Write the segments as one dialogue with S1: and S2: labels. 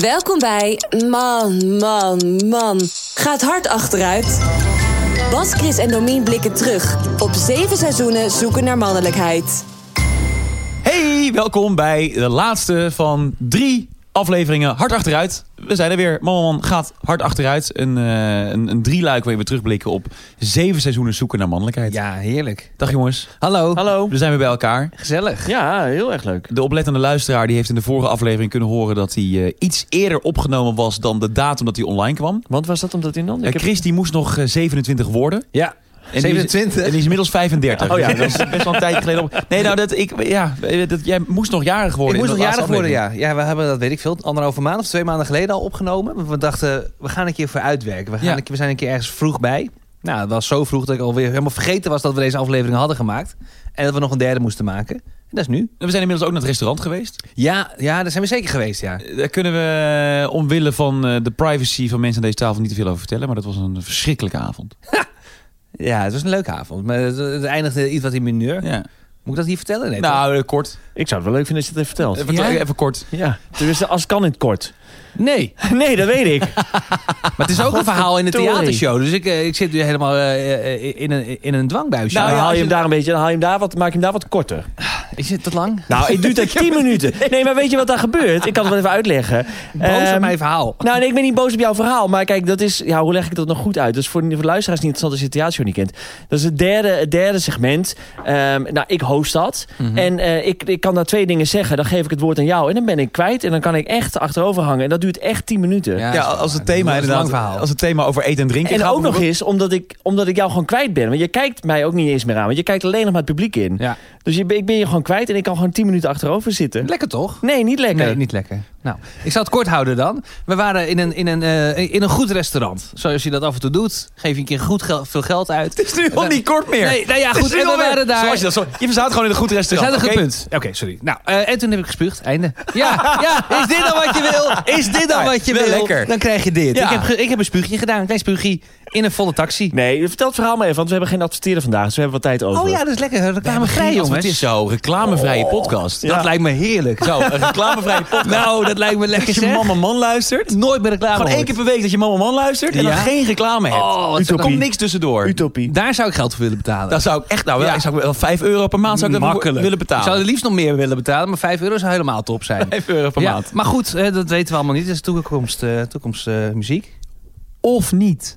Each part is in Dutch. S1: Welkom bij Man, Man, Man. Gaat hard achteruit. Bas, Chris en Domien blikken terug op zeven seizoenen zoeken naar mannelijkheid.
S2: Hey, welkom bij de laatste van drie afleveringen Hard Achteruit. We zijn er weer. Man, man, man gaat hard achteruit. Een, eh een, een drieluik waarin we terugblikken op zeven seizoenen zoeken naar mannelijkheid.
S3: Ja, heerlijk.
S2: Dag jongens.
S3: Hallo.
S2: Hallo. We zijn weer bij elkaar.
S3: Gezellig.
S4: Ja, heel erg leuk.
S2: De oplettende luisteraar die heeft in de vorige aflevering kunnen horen dat hij eh, iets eerder opgenomen was dan de datum dat hij online kwam.
S4: Want was dat omdat hij dan?
S2: Eh, Chris die moest nog eh, 27 worden.
S3: Ja.
S2: En die is-
S3: 27?
S2: en die is inmiddels 35.
S4: Oh ja,
S2: Dus dat is best wel een tijd geleden. Op. Nee, nou, dat, ik, ja, dat, jij moest nog jarig worden.
S3: Ik moest
S2: in
S3: nog
S2: de laatste
S3: jarig
S2: aflevering.
S3: worden, ja. Ja, we hebben dat, weet ik veel, anderhalve maand of twee maanden geleden al opgenomen. Want we dachten, we gaan een keer voor uitwerken. We, gaan
S2: Ja.
S3: een keer, we zijn een keer ergens vroeg bij. Nou, het was zo vroeg dat ik alweer helemaal vergeten was dat we deze aflevering hadden gemaakt. En dat we nog een derde moesten maken. En dat is nu.
S2: We zijn inmiddels ook naar het restaurant geweest. Eh,
S3: Ja, ja daar zijn we zeker geweest, ja.
S2: Daar kunnen we eh, omwille van eh, de privacy van mensen aan deze tafel niet te veel over vertellen. Maar dat was een verschrikkelijke avond.
S3: Ja, het was een leuke avond. Maar het, het eindigde iets wat in mineur.
S2: Ja.
S3: Moet ik dat hier vertellen? Nee,
S2: nou, eh, kort.
S4: Ik zou het wel leuk vinden als je het even vertelt.
S2: Even,
S3: Ja?
S2: even kort.
S4: Ja, tenminste, als kan in het kort. Nou
S3: toch? nee.
S4: Nee, dat weet ik.
S3: Maar het is ook een verhaal in de
S4: Godverdorie.
S3: theatershow. Dus ik, eh, ik zit nu helemaal eh, eh, in, een, in een dwangbuisje.
S4: Nou,
S2: ja,
S4: dan
S2: als
S4: haal je
S2: je-
S4: hem daar een beetje, dan haal je hem daar wat, maak je hem daar wat korter.
S3: Is het te lang?
S4: Nou, ik doe dat 10 minuten. Nee, maar weet je wat daar gebeurt? Ik kan het wel even uitleggen.
S3: Boos op
S4: Ehm,
S3: mijn verhaal.
S4: Nou, nee, ik ben niet boos op jouw verhaal. Maar kijk, dat is. Ja, hoe leg ik dat nog goed uit? Dat is voor, voor de luisteraars niet interessant als je het theatershow niet kent. Dat is het derde, het derde segment. Ehm, nou, ik host dat. En eh, ik, ik kan daar twee dingen zeggen. Dan geef ik het woord aan jou. En dan ben ik kwijt. En dan kan ik echt achterover hangen. En dat duurt echt 10 minuten.
S3: Ja,
S2: Ja,
S3: dat is
S2: als
S3: waar.
S2: het thema
S3: Dat is een lang
S2: inderdaad.
S3: verhaal.
S2: Als het thema over eten en drinken
S4: En
S2: gaat.
S4: ook nog
S2: bijvoorbeeld.
S4: eens omdat ik, omdat ik jou gewoon kwijt ben. Want je kijkt mij ook niet eens meer aan. Want je kijkt alleen nog maar het publiek in.
S3: Ja.
S4: Dus je, ik ben je gewoon kwijt. En ik kan gewoon 10 minuten achterover zitten.
S3: Lekker toch?
S4: Nee, niet lekker.
S3: Nee, niet lekker. Nou, ik zal het kort houden dan. We waren in een, in een, eh, in een goed restaurant. Zoals je dat af en toe doet. Geef je een keer goed gel- veel geld uit.
S2: Het is nu al niet kort meer.
S3: Nee, nou ja,
S2: Het is
S3: goed.
S2: nu
S3: En we
S2: alweer-
S3: waren daar.
S2: Zoals je, dat, zo, je verstaat gewoon in een goed
S3: We
S2: restaurant.
S3: zaten goed
S2: oké?
S3: punt. Oké, sorry. Nou, eh, en toen heb ik gespuugd. Einde. Ja, ja, is dit dan wat je wil? Is dit dan
S2: Nou,
S3: wat je
S2: wel
S3: wil?
S2: lekker.
S3: Dan krijg je dit.
S2: Ja.
S3: Ik, heb, ge- ik heb een spuugje gedaan. Een klein spuugje in een volle taxi.
S4: Nee, vertel het verhaal maar even. Want we hebben geen adverteren vandaag. Dus we hebben wat tijd over.
S3: Oh ja, dat is lekker. Reclamevrij,
S2: Jongens,
S3: jongens.
S2: Het is zo, reclamevrije podcast.
S3: Oh. Dat lijkt me heerlijk.
S2: Zo, een reclamevrije podcast.
S3: Nou, dat lijkt me lekker
S2: Als je
S3: zeg.
S2: man en man luistert.
S3: Nooit meer reclame
S2: Gewoon één
S3: hoort.
S2: keer per week dat je man en man luistert. En
S3: Ja.
S2: dan geen reclame hebt.
S3: Oh, wat
S2: er
S3: Utopie.
S2: komt niks tussendoor.
S4: Utopie.
S3: Daar zou ik geld voor willen betalen.
S2: Dan zou ik echt, nou, wel-
S3: Ja.
S2: ik zou wel 5 euro per maand zou ik dat voor willen betalen.
S3: Ik zou er liefst nog meer willen betalen, maar 5 euro zou helemaal top zijn.
S2: 5 euro per
S3: Ja,
S2: maand.
S3: maar goed, eh, dat weten we allemaal niet. Dat is toekomst, eh, toekomst eh, muziek.
S2: Of niet.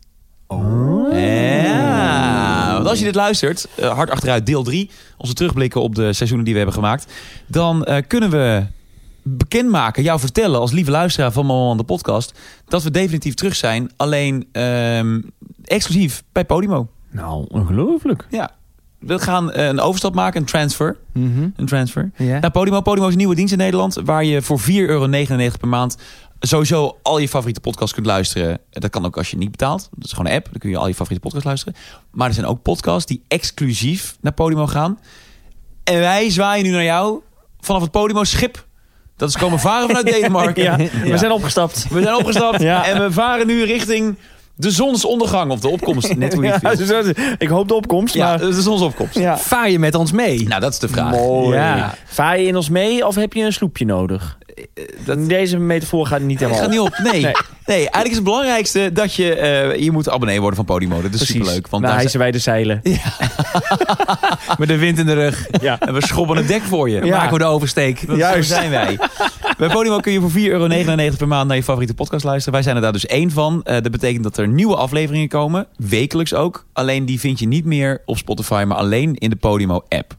S4: Oh.
S2: Ja. Want als je dit luistert, eh, hard achteruit deel 3, onze terugblikken op de seizoenen die we hebben gemaakt, dan eh, kunnen we bekendmaken, jou vertellen als lieve luisteraar van Mama Man de podcast, dat we definitief terug zijn, alleen ehm, exclusief bij Podimo.
S4: Nou, ongelooflijk.
S2: Ja. We gaan eh, een overstap maken, een transfer. Een transfer.
S3: Ja.
S2: Naar Nou, Podimo. Podimo is een nieuwe dienst in Nederland. Waar je voor 4,99 euro per maand sowieso al je favoriete podcasts kunt luisteren. Dat kan ook als je niet betaalt. Dat is gewoon een app. Dan kun je al je favoriete podcasts luisteren. Maar er zijn ook podcasts die exclusief naar Podimo gaan. En wij zwaaien nu naar jou vanaf het Podimo schip. Dat is komen varen vanuit Denemarken.
S4: Ja, we zijn opgestapt.
S2: We zijn opgestapt
S4: Ja.
S2: en we varen nu richting de zonsondergang of de opkomst. Net hoe je het
S4: Ja,
S2: wilt.
S4: dus dat is- ik hoop de opkomst,
S2: Ja,
S4: maar...
S2: de zonsopkomst.
S4: Ja.
S3: Vaar je met ons mee?
S2: Nou, dat is de vraag.
S4: Mooi.
S3: Ja.
S4: Vaar je in ons mee of heb je een sloepje nodig?
S2: Eh,
S4: Deze metafoor gaat niet
S2: Het
S4: helemaal
S2: gaat niet op. Nee. nee.
S4: Nee.
S2: eigenlijk is het belangrijpste dat je... eh, je moet abonnee worden van Podimo. Dat is
S4: Precies.
S2: superleuk. Want
S4: nou,
S2: daar
S4: hijsen wij de zeilen.
S3: Met de wind in de rug.
S4: Ja.
S2: zijn- en we schobben het dek voor je.
S3: Dan
S4: Ja.
S3: maken we de oversteek.
S2: Dat
S4: Juist.
S2: Zo zijn wij. Bij Podimo kun je voor 4,99 euro per maand naar je favoriete podcast luisteren. Wij zijn er daar dus één van. Eh, dat betekent dat er nieuwe afleveringen komen. Wekelijks ook. Alleen die vind je niet meer op Spotify, maar alleen in de Podimo-app.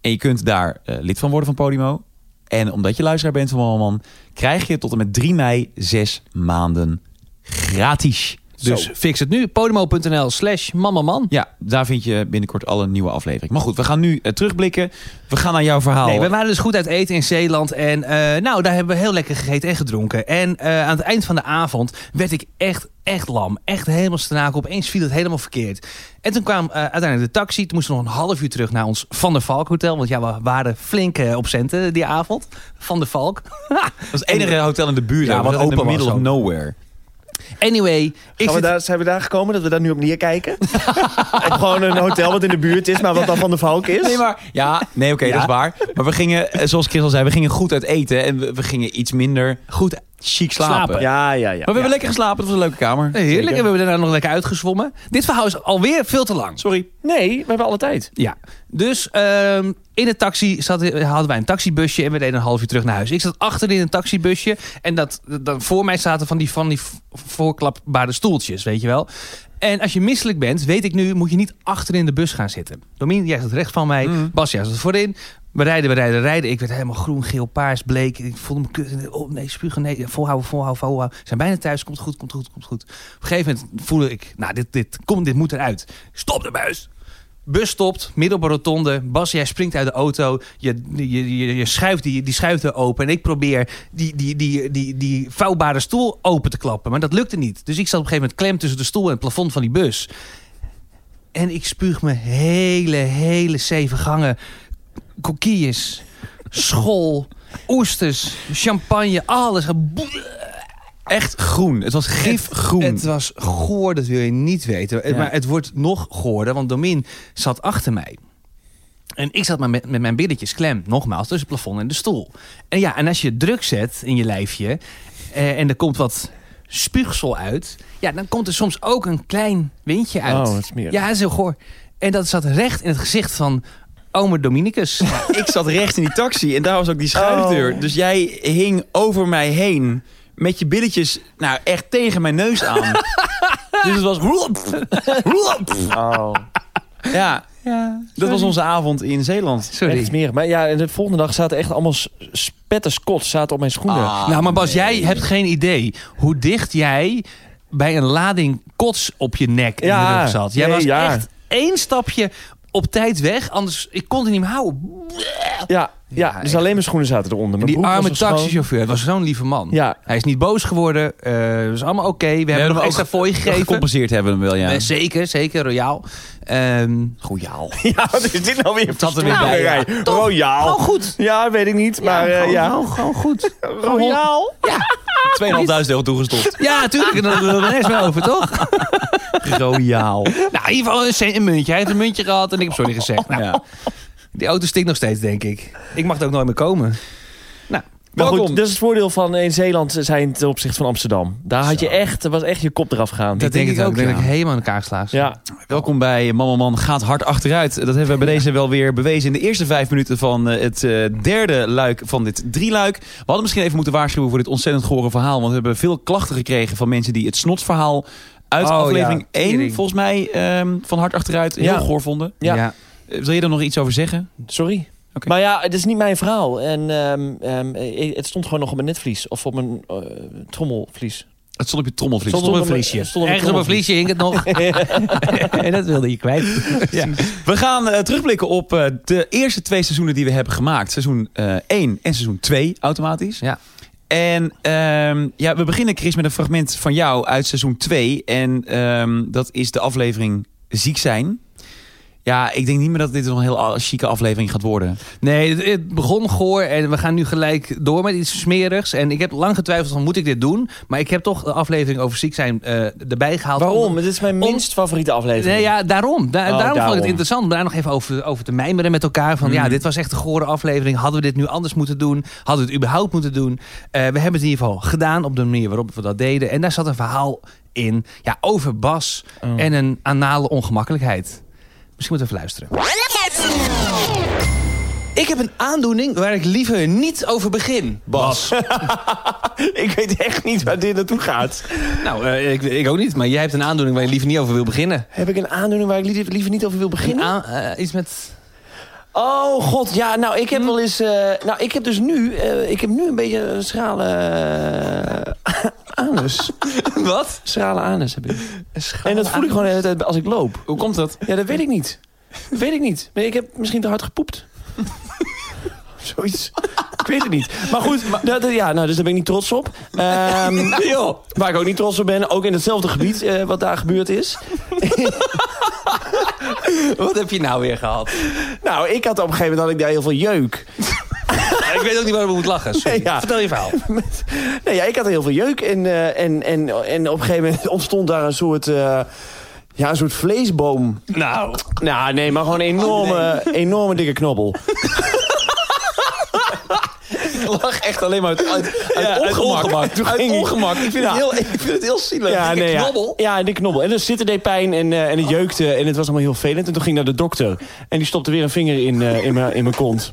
S2: En je kunt daar eh, lid van worden van Podimo. En omdat je luisteraar bent van Mama Man, krijg je tot en met 3 mei 6 maanden gratis.
S3: Dus fix het nu. Podimo.nl slash mamaman.
S2: Ja, daar vind je binnenkort alle nieuwe afleveringen. Maar goed, we gaan nu eh, terugblikken. We gaan naar jouw verhaal.
S3: Nee, we waren dus goed uit eten in Zeeland. En eh, nou, daar hebben we heel lekker gegeten en gedronken. En eh, aan het eind van de avond werd ik echt, echt lam. Echt helemaal straak. Opeens viel het helemaal verkeerd. En toen kwam eh, uiteindelijk de taxi. Toen moesten we nog een half uur terug naar ons Van der Valk hotel. Want ja, we waren flink eh, op centen die avond. Van der Valk.
S2: Dat was het enige hotel in de buurt.
S3: Ja,
S2: ook.
S3: wat
S2: We zaten in
S3: open
S2: de
S3: was
S2: middle of
S3: ook.
S2: nowhere.
S3: Anyway. Ik
S4: Gaan we
S3: zit-
S4: daar, zijn we daar gekomen dat we daar nu op neerkijken? Op gewoon een hotel wat in de buurt is, maar wat dan van de Valk is?
S2: Nee, maar, ja, nee, oké, dat is waar. Maar we gingen, eh, zoals Chris al zei, we gingen goed uit eten. En we, we gingen iets minder
S3: Goed
S2: chic slapen.
S3: Slapen.
S2: Maar
S4: Ja, ja, ja.
S2: we hebben lekker geslapen. Het was een leuke kamer.
S3: Heerlijk. En
S4: Zeker.
S3: we hebben daarna nog lekker uitgezwommen. Dit verhaal is alweer veel te lang.
S2: Sorry.
S4: Nee, we hebben alle tijd.
S3: Ja. Dus ehm, in een taxi zat, hadden wij een taxibusje en we deden een half uur terug naar huis. Ik zat achterin een taxibusje en dat, dat, voor mij zaten van die, van die v- voorklapbare stoeltjes, weet je wel. En als je misselijk bent, weet ik nu, moet je niet achterin de bus gaan zitten. Domien, jij zat rechts van mij. Bas, jij zat voorin. We rijden, we rijden, rijden. Ik werd helemaal groen, geel, paars, bleek. Ik voelde me kut. Oh nee, spugen, nee. Volhouden, volhouden, volhouden. We zijn bijna thuis. Komt goed, komt goed, komt goed. Op een gegeven moment voelde ik, nou, dit, dit, komt, dit moet eruit. Stop de bus. Bus stopt, midden op een rotonde. Bas, jij springt uit de auto. Je, je, je, je schuift die, die schuifdeur open. En ik probeer die, die, die, die, die vouwbare stoel open te klappen. Maar dat lukte niet. Dus ik zat op een gegeven moment klem tussen de stoel en het plafond van die bus. En ik spuug me hele, hele zeven gangen coquilles, school, oesters, champagne, alles.
S2: Echt groen. Het was gifgroen.
S3: Het was goor, dat wil je niet weten. Het-
S4: Ja.
S3: Maar het wordt nog goorder, want Domin zat achter mij. En ik zat maar met, met mijn billetjes klem, nogmaals, tussen het plafond en de stoel. En ja, en als je druk zet in je lijfje eh, en er komt wat spuugsel uit... ja, dan komt er soms ook een klein windje uit.
S4: Oh, wat smerig.
S3: Ja, dat is heel goor. En dat zat recht in het gezicht van omer Dominicus.
S2: ik zat rechts in die taxi en daar was ook die schuifdeur.
S4: Oh.
S2: Dus jij hing over mij heen met je billetjes nou echt tegen mijn neus aan. dus het was...
S4: Oh.
S2: Ja,
S3: ja,
S2: dat was onze avond in Zeeland.
S3: Sorry.
S4: Echt smerig. Maar ja, en de volgende dag zaten echt allemaal s- spetten Scots zaten op mijn schoenen.
S2: Ah,
S3: nou, maar
S2: nee.
S3: Bas, jij hebt geen idee hoe dicht jij bij een lading kots op je nek in
S4: Ja,
S3: de rug zat. Jij
S4: nee,
S3: was
S4: ja.
S3: echt één stapje op tijd weg, anders ik kon het niet meer houden.
S4: Ja, ja,
S3: Ja,
S4: dus
S3: echt.
S4: alleen mijn schoenen zaten eronder. Mijn
S3: die
S4: broek was
S3: arme
S4: nog schoon.
S3: taxichauffeur, het was zo'n lieve man.
S4: Ja.
S3: Hij is niet boos geworden, eh, het was allemaal oké. We hebben hem
S2: hem
S3: nog extra
S2: ook
S3: voor je gegeven.
S2: Gecompenseerd hebben we hem wel, ja.
S3: Eh, zeker, zeker, royaal. Ehm
S2: Goejaal.
S4: Ja, wat is dit nou weer?
S3: Dat had er weer bij, ja.
S4: Royaal.
S3: Toch?
S4: Royaal.
S3: gewoon goed.
S4: Ja, weet ik niet, maar
S3: ja,
S4: eh,
S3: gewoon,
S4: ja.
S3: gewoon, gewoon goed.
S4: Royaal.
S2: 2.500 euro toegestopt.
S3: Ja, tuurlijk, daar hadden we het eerst wel over, toch?
S2: Royaal.
S3: Nou, in ieder geval een, cent- een muntje. Hij heeft een muntje gehad en ik heb sorry gezegd. Nou,
S2: Ja.
S3: Die auto stinkt nog steeds, denk ik. Ik mag er ook nooit meer komen.
S4: Maar goed,
S2: Welkom.
S4: dat is het voordeel van in Zeeland zijn ten opzichte van Amsterdam. Daar had je
S3: Zo.
S4: echt, was echt je kop eraf gaan.
S2: Dat denk ik ook,
S3: Ik denk
S2: ja.
S3: dat ik helemaal aan elkaar sla.
S4: Ja,
S2: Welkom bij Mama Man gaat hard achteruit. Dat hebben we bij deze wel weer bewezen in de eerste vijf minuten van eh, het eh, derde luik van dit drieluik. We hadden misschien even moeten waarschuwen voor dit ontzettend gore verhaal. Want we hebben veel klachten gekregen van mensen die het snotsverhaal uit
S3: Oh, ja.
S2: aflevering 1,
S3: Tering.
S2: volgens mij, ehm, van hard achteruit heel
S4: Ja.
S2: goor vonden.
S4: Ja.
S2: Eh, wil je daar nog iets over zeggen?
S4: sorry.
S2: Oké.
S4: Maar ja, het is niet mijn verhaal. En ehm, ehm, eh, het stond gewoon nog op mijn netvlies. Of op mijn eh, trommelvlies.
S2: Het stond op je trommelvlies.
S4: Stond op een vliesje. Stond op een
S3: Ergens op een vliesje hing het nog. en dat wilde je kwijt.
S2: Ja. We gaan eh, terugblikken op eh, de eerste twee seizoenen die we hebben gemaakt. Seizoen 1 en seizoen 2 automatisch.
S3: Ja.
S2: En ehm, ja, we beginnen Chris met een fragment van jou uit seizoen 2. En ehm, dat is de aflevering Ziek zijn. Ja, ik denk niet meer dat dit een heel a- chique aflevering gaat worden.
S3: Nee, het, het begon goor en we gaan nu gelijk door met iets smerigs. En ik heb lang getwijfeld van, moet ik dit doen? Maar ik heb toch de aflevering over ziek zijn eh, erbij gehaald.
S4: Waarom? Dit is mijn minst favoriete aflevering.
S3: Nee, ja, daarom. Da-
S4: Oh,
S3: daarom, vond ik
S4: daarom.
S3: het interessant om daar nog even over, over te mijmeren met elkaar. Van ja, dit was echt een gore aflevering. Hadden we dit nu anders moeten doen? Hadden we het überhaupt moeten doen? Eh, we hebben het in ieder geval gedaan op de manier waarop we dat deden. En daar zat een verhaal in ja, over Bas en een anale ongemakkelijkheid. Misschien moeten we even luisteren. Ik heb een aandoening waar ik liever niet over begin.
S2: Bas.
S4: Ik weet echt niet waar dit naartoe gaat.
S3: Nou, eh, ik, ik ook niet, maar jij hebt een aandoening waar je liever niet over wil beginnen.
S4: Heb ik een aandoening waar ik liever, liever niet over wil
S3: Een
S4: beginnen?
S3: aan- eh, iets met.
S4: Oh god, ja, nou ik heb
S3: Hm.
S4: wel eens... eh, nou, ik heb dus nu... eh, ik heb nu een beetje een schrale... eh, anus.
S3: Wat?
S4: Schrale anus heb ik. en dat voel ik gewoon de hele tijd als ik loop.
S2: Hoe komt dat?
S4: Ja, dat weet ik niet. Dat weet ik niet. Maar ik heb misschien te hard gepoept. Zoiets. Ik weet het niet. Maar goed, dat, dat- ja, nou, dus daar ben ik niet trots op. Ehm, Waar ik ook niet trots op ben, ook in hetzelfde gebied eh, wat daar gebeurd is.
S3: Wat heb je nou weer gehad?
S4: Nou, ik had op een gegeven moment had ik daar heel veel jeuk.
S3: ik weet ook niet waarom ik moet lachen.
S4: sorry.
S3: Vertel je verhaal.
S4: Nee, ja, ik had heel veel jeuk en, eh, en, en, en op een gegeven moment ontstond daar een soort, eh, ja, een soort vleesboom.
S3: Nou,
S4: Nou, nee, maar gewoon een enorme, enorme dikke knobbel.
S2: ik lach echt alleen maar uit, uit, uit
S4: uit
S2: ongemak.
S4: ongemak.
S2: Uit,
S4: Toen ging ik-
S2: ongemak. Ik vind,
S4: Ja.
S2: het heel, ik vind het heel zielig.
S4: Ja,
S2: Ik
S4: nee, ja.
S2: knabbel.
S4: ja, en ik knobbel. En dan zitten deed pijn en, eh, en het jeukte en het was allemaal heel vervelend. En toen ging ik naar de dokter en die stopte weer een vinger in, eh, in, mijn, in mijn kont.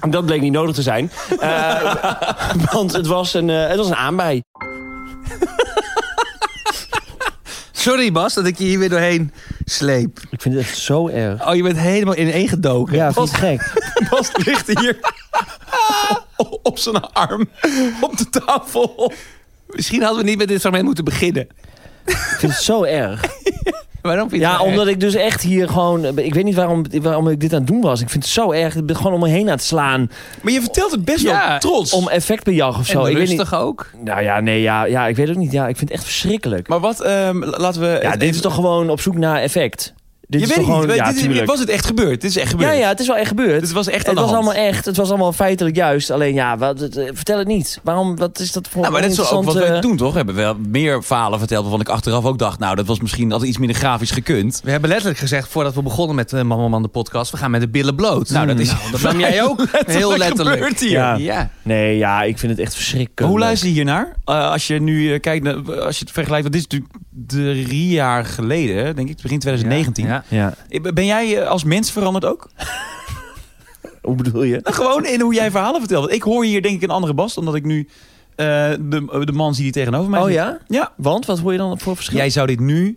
S4: En dat bleek niet nodig te zijn, Eh, want het was een, eh, het was een aanbij.
S3: Sorry Bas, dat ik je hier weer doorheen sleep.
S4: Ik vind het echt zo erg.
S3: Oh, je bent helemaal ineen gedoken.
S4: vind ik gek.
S2: Bas ligt hier o- op zijn arm op de tafel.
S3: Misschien hadden we niet met dit fragment moeten beginnen.
S4: Ik vind het zo erg.
S3: Waarom vind je
S4: Ja,
S3: het erg?
S4: omdat ik dus echt hier gewoon... Ik weet niet waarom, waarom ik dit aan het doen was. Ik vind het zo erg. Ik ben gewoon om me heen aan het slaan.
S2: Maar je vertelt het best
S3: Ja.
S2: wel trots.
S4: Om effectbejag of
S3: En
S4: zo. ik weet
S3: rustig
S4: niet.
S3: ook.
S4: Nou ja, nee, ja, ja, ik weet het niet. Ja, ik vind het echt verschrikkelijk.
S2: Maar wat, ehm, la- laten we...
S4: Ja, dit is toch gewoon op zoek naar effect? Dit
S2: je
S4: is
S2: weet
S4: toch
S2: het
S4: gewoon,
S2: niet.
S4: ja,
S2: dit, is-
S4: tuurlijk.
S2: was het echt gebeurd? Dit is echt gebeurd.
S4: ja, ja, het is wel echt gebeurd.
S2: Dit was echt aan de
S4: het was
S2: hand.
S4: allemaal echt. Het was allemaal feitelijk juist. Alleen ja, wat, het, eh, vertel het niet. Waarom, wat is dat voor
S2: Nou, maar
S4: een
S2: net zo ook wat
S4: interessante-
S2: we doen, toch? We hebben wel meer verhalen verteld waarvan ik achteraf ook dacht... nou, dat was misschien altijd iets minder grafisch gekund.
S3: We hebben letterlijk gezegd, voordat we begonnen met eh, Mama Man de podcast... we gaan met de billen bloot. Nou, dat is
S4: Hmm.
S3: dat ben jij ook heel letterlijk.
S2: gebeurd hier.
S4: Ja.
S3: Ja.
S4: Nee, ja, ik vind het echt verschrikkelijk.
S2: Maar Hoe luister je hiernaar? Eh, als je nu eh, kijkt, naar- als je het vergelijkt... want dit is natuurlijk drie jaar geleden, hè, denk ik. Begin 2019.
S3: Ja.
S4: Ja.
S2: Eh, Ben jij eh, als mens veranderd ook?
S4: Hoe bedoel je?
S2: Nou, gewoon in hoe jij verhalen vertelt. Want Ik hoor hier denk ik een andere Bas, omdat ik nu eh, de, de man zie die tegenover mij
S4: Oh
S2: zit.
S4: ja?
S2: Ja.
S4: Want wat hoor je dan voor verschil?
S2: Jij zou dit nu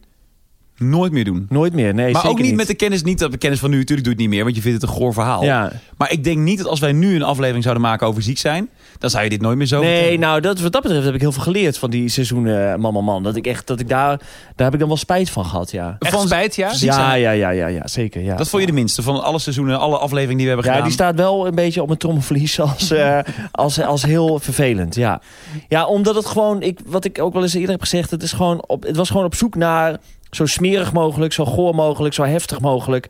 S2: nooit meer doen.
S4: Nooit meer. Nee,
S2: maar
S4: zeker
S2: ook niet, met de kennis, niet dat de kennis van nu, natuurlijk doe je het niet meer, want je vindt het een goor verhaal.
S4: Ja.
S2: Maar ik denk niet dat als wij nu een aflevering zouden maken over ziek zijn, dan zou je dit nooit meer zo
S4: Nee, nou, dat, wat dat betreft heb ik heel veel geleerd van die seizoenen eh, Mama Man. Dat ik echt, dat ik daar, daar heb ik dan wel spijt van gehad, ja.
S3: Echt
S2: Van-
S3: spijt, ja?
S2: Precies. ziek
S4: Ja,
S2: zijn.
S4: ja, ja, ja, ja, zeker, ja.
S2: Dat vond je de minste van alle seizoenen, alle afleveringen die we hebben
S4: Ja,
S2: gedaan.
S4: die staat wel een beetje op mijn trommelvlies als, eh, als, als heel vervelend. Ja, ja omdat het gewoon, ik, wat ik ook wel eens eerder heb gezegd, het, is gewoon op, het was gewoon op zoek naar zo smerig mogelijk, zo goor mogelijk, zo heftig mogelijk.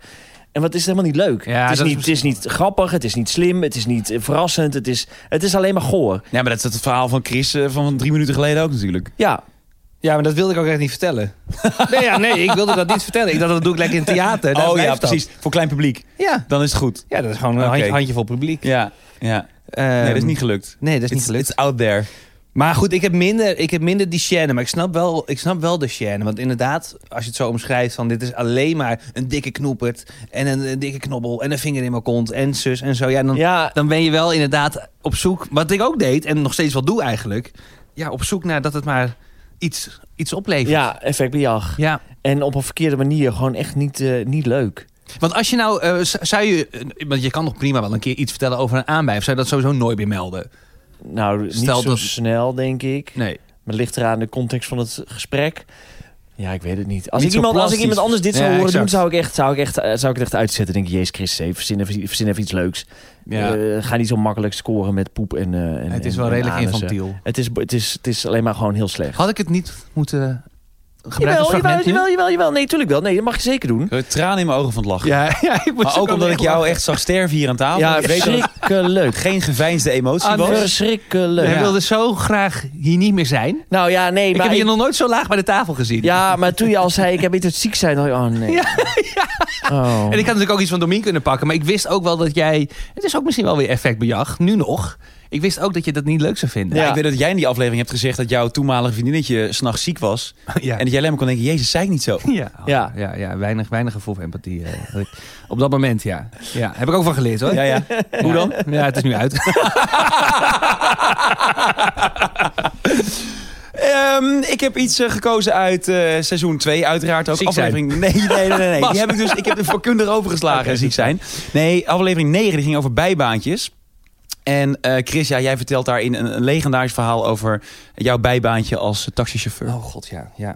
S4: En wat is helemaal niet leuk?
S3: Ja,
S4: het, is
S3: dat is
S4: niet, het is niet grappig, het is niet slim, het is niet eh, verrassend, het is, het is alleen maar goor.
S2: Ja, maar dat is het verhaal van Chris eh, van drie minuten geleden ook natuurlijk.
S4: Ja,
S3: Ja, maar dat wilde ik ook echt niet vertellen. nee, ja, nee, ik wilde dat niet vertellen. Ik dacht, dat doe ik lekker in het theater. Daar
S2: oh ja,
S3: blijft dat.
S2: precies. Voor klein publiek.
S3: Ja.
S2: Dan is het goed.
S3: ja, dat is gewoon een
S2: Oké.
S3: handje, handjevol publiek.
S2: Ja, ja. Nee, dat is niet gelukt.
S3: Ehm, Nee, dat is niet
S2: It's,
S3: gelukt.
S2: it's out there.
S3: Maar goed, ik heb minder, ik heb minder die chaîne. Maar ik snap, wel, ik snap wel de chaîne. Want inderdaad, als je het zo omschrijft... van dit is alleen maar een dikke knoepert... en een, een dikke knobbel en een vinger in mijn kont... en zus en zo. Ja, dan,
S4: ja
S3: dan ben je wel inderdaad op zoek... wat ik ook deed en nog steeds wel doe eigenlijk... ja, op zoek naar dat het maar iets, iets oplevert.
S4: Ja, effect bejag.
S3: ja.
S4: En op een verkeerde manier. Gewoon echt niet, eh, niet leuk.
S3: Want als je nou, eh, z- zou je, eh, want je kan nog prima wel een keer iets vertellen over een aanbij, of zou je dat sowieso nooit meer melden?
S4: Nou,
S3: Stel
S4: niet zo
S3: dat-
S4: snel, denk ik.
S3: Nee.
S4: Maar het ligt eraan de context van het gesprek. Ja, ik weet het niet. Als,
S3: Niet
S4: ik
S3: zo
S4: iemand, als ik
S3: plastisch.
S4: iemand anders dit zou
S3: Ja,
S4: horen
S3: exact.
S4: doen, zou ik, echt, zou, ik echt, eh, zou ik het echt uitzetten. Denk ik, jezus Christus, even, verzin, even, verzin even iets leuks.
S3: Ja.
S4: Eh, ga niet zo makkelijk scoren met poep en eh, en-
S3: het is
S4: en-
S3: wel
S4: en
S3: redelijk
S4: anussen.
S3: infantiel.
S4: Het is, het, is, het is alleen maar gewoon heel slecht.
S3: Had ik het niet moeten eh, gebruiken als
S4: Jawel, jawel,
S3: fragment nu?
S4: jewel, jewel, jawel. Nee, tuurlijk wel. Nee, dat mag je zeker doen.
S2: Ik heb Tranen in mijn ogen van het lachen.
S3: Ja, ja, ik moest
S2: maar ook omdat
S3: echt
S2: ik jou
S3: lachen.
S2: echt zag sterven hier aan tafel.
S4: Ja,
S2: ik weet dat het
S4: verschrikkelijk.
S2: geen geveinsde emotie
S3: Ah, nee.
S2: was.
S4: Verschrikkelijk.
S3: Jij
S2: Ja.
S3: wilde zo graag hier niet meer zijn.
S4: Nou ja, nee,
S3: ik
S4: maar...
S3: heb je
S4: ik-
S3: nog nooit zo laag bij de tafel gezien.
S4: Ja, maar toen je al zei, ik heb iets uit ziek zijn, dacht ik, oh nee.
S3: Ja,
S4: Oh.
S3: En ik had natuurlijk ook iets van Domien kunnen pakken, maar ik wist ook wel dat jij... Het is ook misschien wel weer effectbejag, nu nog. Ik wist ook dat je dat niet leuk zou vinden.
S2: Ja,
S4: Ja.
S2: Ik weet dat jij in die aflevering hebt gezegd dat jouw toenmalige vriendinnetje s'nachts ziek was.
S3: ja.
S2: En dat jij alleen maar kon denken, jezus, zei ik niet zo.
S3: Ja, ja.
S4: Ja.
S3: ja, weinig, weinig gevoel voor empathie. eh, had ik op dat moment, ja. ja. Heb ik ook van geleerd hoor.
S2: Ja, ja. Hoe dan?
S3: Ja, het is nu uit.
S2: Ehm, ik heb iets eh, gekozen uit eh, seizoen 2, uiteraard ook.
S3: Ziek zijn.
S2: aflevering. Nee, nee, nee, nee. nee. Die heb ik dus. Ik heb er vakkundig overgeslagen, ziek zijn. Nee, aflevering 9 die ging over bijbaantjes. En eh, Chris, ja, jij vertelt daarin een, een legendarisch verhaal over jouw bijbaantje als eh, taxichauffeur.
S3: Oh god, ja. ja.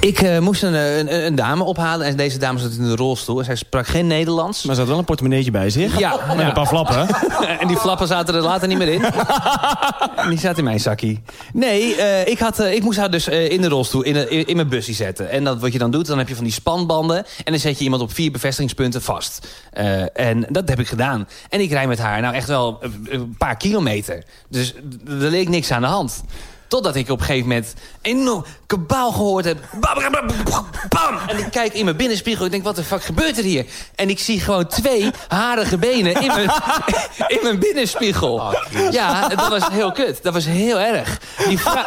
S3: Ik eh, moest een, eh, een, een dame ophalen en deze dame zat in de rolstoel. En zij sprak geen Nederlands.
S4: Maar ze had wel een portemonneetje bij zich.
S3: Ja, ja.
S4: paar flappen.
S3: en die flappen zaten er later niet meer in. En die zaten in mijn zakkie. Nee, eh, ik, had, eh, ik moest haar dus eh, in de rolstoel, in, de- in, in mijn busje zetten. En dat, wat je dan doet, dan heb je van die spanbanden. En dan zet je iemand op vier bevestigingspunten vast. Eh, en dat heb ik gedaan. En ik rijd met haar nou echt wel eh, een paar kilometer. Dus d- er leek niks aan de hand. Totdat ik op een gegeven moment enorm kabaal gehoord heb. Bam, bam, bam, bam. En ik kijk in mijn binnenspiegel. Ik denk, wat de fuck gebeurt er hier? En ik zie gewoon twee harige benen in mijn, in mijn binnenspiegel.
S5: Oh,
S3: ja, dat was heel kut. Dat was heel erg. Die vrou-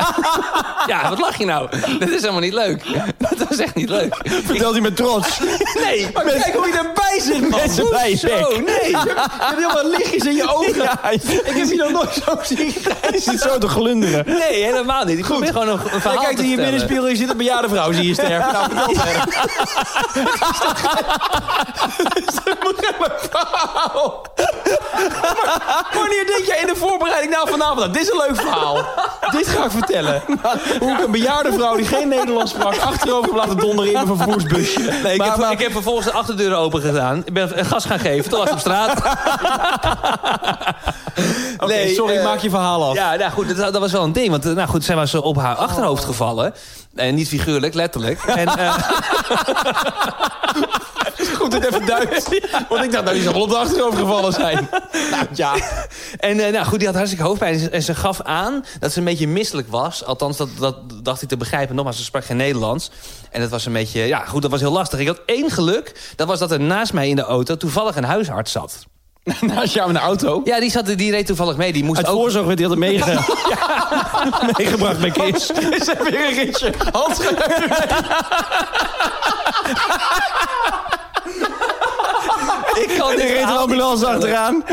S3: ja, wat lach je nou? Dat is helemaal niet leuk. Dat was echt niet leuk.
S5: Vertelt hij met trots.
S3: Nee, maar kijk hoe je erbij zit, man.
S4: Mensen bij je bek.
S3: Zo, nee.
S5: Je hebt helemaal lichtjes in je ogen. Ik heb je nog nooit zo zien. Je zit zo te glunderen.
S3: Nee, helemaal niet. Ik probeer gewoon nog een verhaal
S5: Kijk
S3: te
S5: in je
S3: vertellen.
S5: binnenspiegel, je zit een bejaarde vrouw, zie je sterven. Nou, vertel verder. Maar Wanneer denk jij in de voorbereiding nou vanavond aan? Dit is een leuk verhaal. Dit ga ik vertellen. Hoe ik een bejaarde vrouw die geen Nederlands sprak... achterover heb laten donderen in een vervoersbusje.
S3: Nee, ik,
S5: Maar-
S3: heb,
S5: maar-
S3: ik heb vervolgens de achterdeuren open gedaan. Ik ben gas gaan geven. Toen was ik op straat.
S5: Oké,
S3: nee,
S5: sorry,
S3: eh,
S5: maak je verhaal af.
S3: Ja, nou goed, dat, dat was wel een ding. Want eh, nou goed, zij was eh, op
S5: Oh.
S3: haar achterhoofd gevallen. En niet figuurlijk, letterlijk. En, eh,
S5: Goed, dit even duidelijk. Want ik dacht, nou, die zal wel op de achterover gevallen zijn. Nou, ja.
S3: en eh, nou goed, die had hartstikke hoofdpijn. En ze, en ze gaf aan dat ze een beetje misselijk was. Althans, dat, dat dacht ik te begrijpen. Nogmaals, ze sprak geen Nederlands. En dat was een beetje... Ja, goed, dat was heel lastig. Ik had één geluk. Dat was dat er naast mij in de auto toevallig een huisarts zat.
S5: Naast jou in de auto.
S3: Ja, die, zat, die reed toevallig mee. Die moest
S5: Uit
S3: ook...
S5: voorzorg werd hij altijd meegebracht. meegebracht bij Kees. Ze hebben weer een ritje. Hans gaat even
S3: Ik kan dit
S5: reed een
S3: verhaal niet
S5: ambulance achteraan.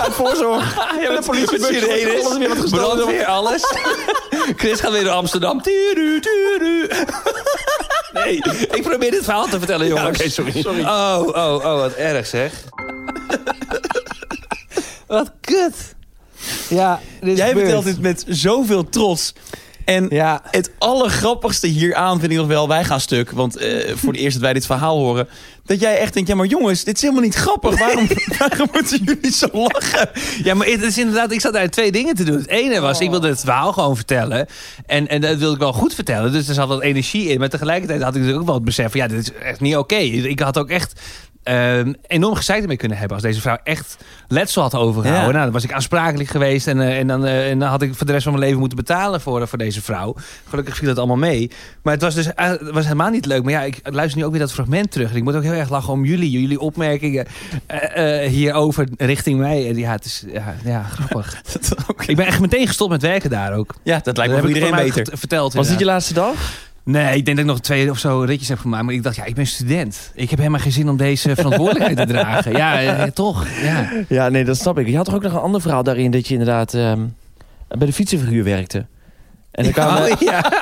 S5: Uit voorzorg. Ja, met de politiebusje
S3: Sirene,
S5: Alles weer wat gestolen.
S3: brandweer, alles. Chris gaat weer naar Amsterdam. Tudu, tudu. Nee, ik probeer dit verhaal te vertellen, jongens.
S5: oké, sorry.
S3: Oh, oh, oh, wat erg zeg. wat kut. Ja, dit is
S2: Jij
S3: gebeurd.
S2: vertelt dit met zoveel trots. En
S3: Ja.
S2: het allergrappigste hieraan vind ik nog wel, wij gaan stuk. Want eh, voor het eerst dat wij dit verhaal horen. Dat jij echt denkt, ja maar jongens, dit is helemaal niet grappig. Waarom, waarom moeten jullie zo lachen?
S3: Ja, maar het is inderdaad, ik zat daar twee dingen te doen. Het ene was, ik wilde het verhaal gewoon vertellen. En, en dat wilde ik wel goed vertellen. Dus er zat wat energie in. Maar tegelijkertijd had ik natuurlijk ook wel het besef van, ja, dit is echt niet oké. Ik had ook echt ehm, enorm gezeik ermee kunnen hebben. Als deze vrouw echt letsel had overgehouden.
S2: Ja.
S3: Nou, dan was ik aansprakelijk geweest. En, eh, en, dan, eh, en dan had ik voor de rest van mijn leven moeten betalen voor, eh, voor deze vrouw. Gelukkig viel dat allemaal mee. Maar het was dus eh, het was helemaal niet leuk. Maar ja, ik luister nu ook weer dat fragment terug. En ik moet ook heel erg lachen om jullie. Jullie opmerkingen eh, eh, hierover richting mij. En ja, het is ja, ja, grappig. Ik ben echt meteen gestopt met werken daar ook.
S2: Ja, dat lijkt me voor
S3: Dat heb ik
S2: iedereen
S3: voor mij
S2: beter.
S3: get- Verteld,
S4: Was dit je
S3: inderdaad.
S4: laatste dag?
S3: Nee, ik denk dat ik nog twee of zo ritjes heb gemaakt. Maar ik dacht, ja, ik ben student. Ik heb helemaal geen zin om deze verantwoordelijkheid te dragen. Ja, eh, toch. Ja.
S4: Ja, nee, dat snap ik. Je had toch ook nog een ander verhaal daarin dat je inderdaad ehm, bij de fietsenverhuur werkte. En dan kwamen,
S3: Oh, ja.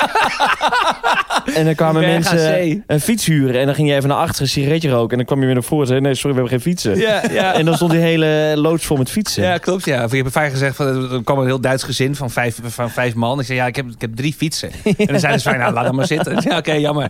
S4: en dan kwamen
S3: Berg aan
S4: mensen
S3: zee.
S4: een fiets huren. En dan ging je even naar achteren een sigaretje roken. En dan kwam je weer naar voren en zei, nee, sorry, we hebben geen fietsen.
S3: Ja, ja.
S4: En dan stond die hele loods vol met fietsen.
S3: Ja, klopt. Ja. Of Ik heb vaak gezegd, van, er kwam een heel Duits gezin van vijf, van vijf man. Ik zei, ja, ik heb, ik heb drie fietsen. En dan zeiden ze, van, nou, laat dat maar zitten. Ja, oké, jammer.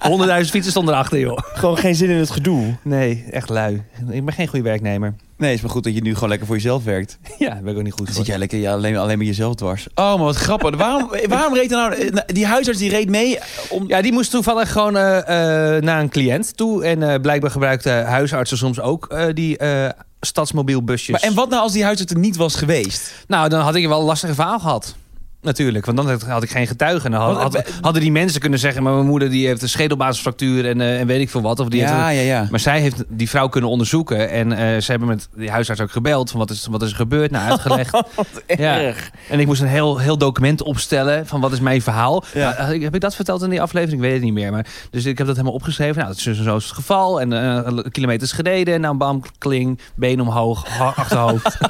S3: Honderdduizend fietsen stonden erachter, joh.
S4: Gewoon geen zin in het gedoe.
S3: Nee, echt lui. Ik ben geen goede werknemer.
S2: Nee, is maar goed dat je nu gewoon lekker voor jezelf werkt.
S3: Ja, daar ben ik ook niet goed
S2: Dan
S3: voor.
S2: zit jij lekker ja, alleen, alleen maar jezelf
S3: Dus-
S2: dwars. Oh, maar wat grappig. Waarom, waarom reed er nou... eh, Die huisarts die reed mee om...
S3: Ja, die moest toevallig gewoon eh, eh, naar een cliënt toe. En eh, blijkbaar gebruikten huisartsen soms ook eh, die eh, stadsmobiel busjes.
S2: Maar, en wat nou als die huisarts er niet was geweest?
S3: Nou, dan had ik wel een lastige verhaal gehad. Natuurlijk, want dan had ik geen getuigen. Dan had- had- hadden die mensen kunnen zeggen... maar mijn moeder die heeft een schedelbasisfractuur en, eh, en weet ik veel wat. Of die heeft een-
S2: ja, ja.
S3: Maar zij heeft die vrouw kunnen onderzoeken. En eh, ze hebben met die huisarts ook gebeld. Van wat is, wat is er gebeurd? Nou, uitgelegd. ja.
S4: Erg.
S3: En ik moest een heel, heel document opstellen. Van wat is mijn verhaal?
S2: Ja.
S3: Nou, had ik- heb ik dat verteld in die aflevering? Ik weet het niet meer. Maar, dus ik heb dat helemaal opgeschreven. Nou, dat is dus en zo is het geval. En eh, kilometers gereden. Nou, bam, kling. Been omhoog. ha- Achterhoofd.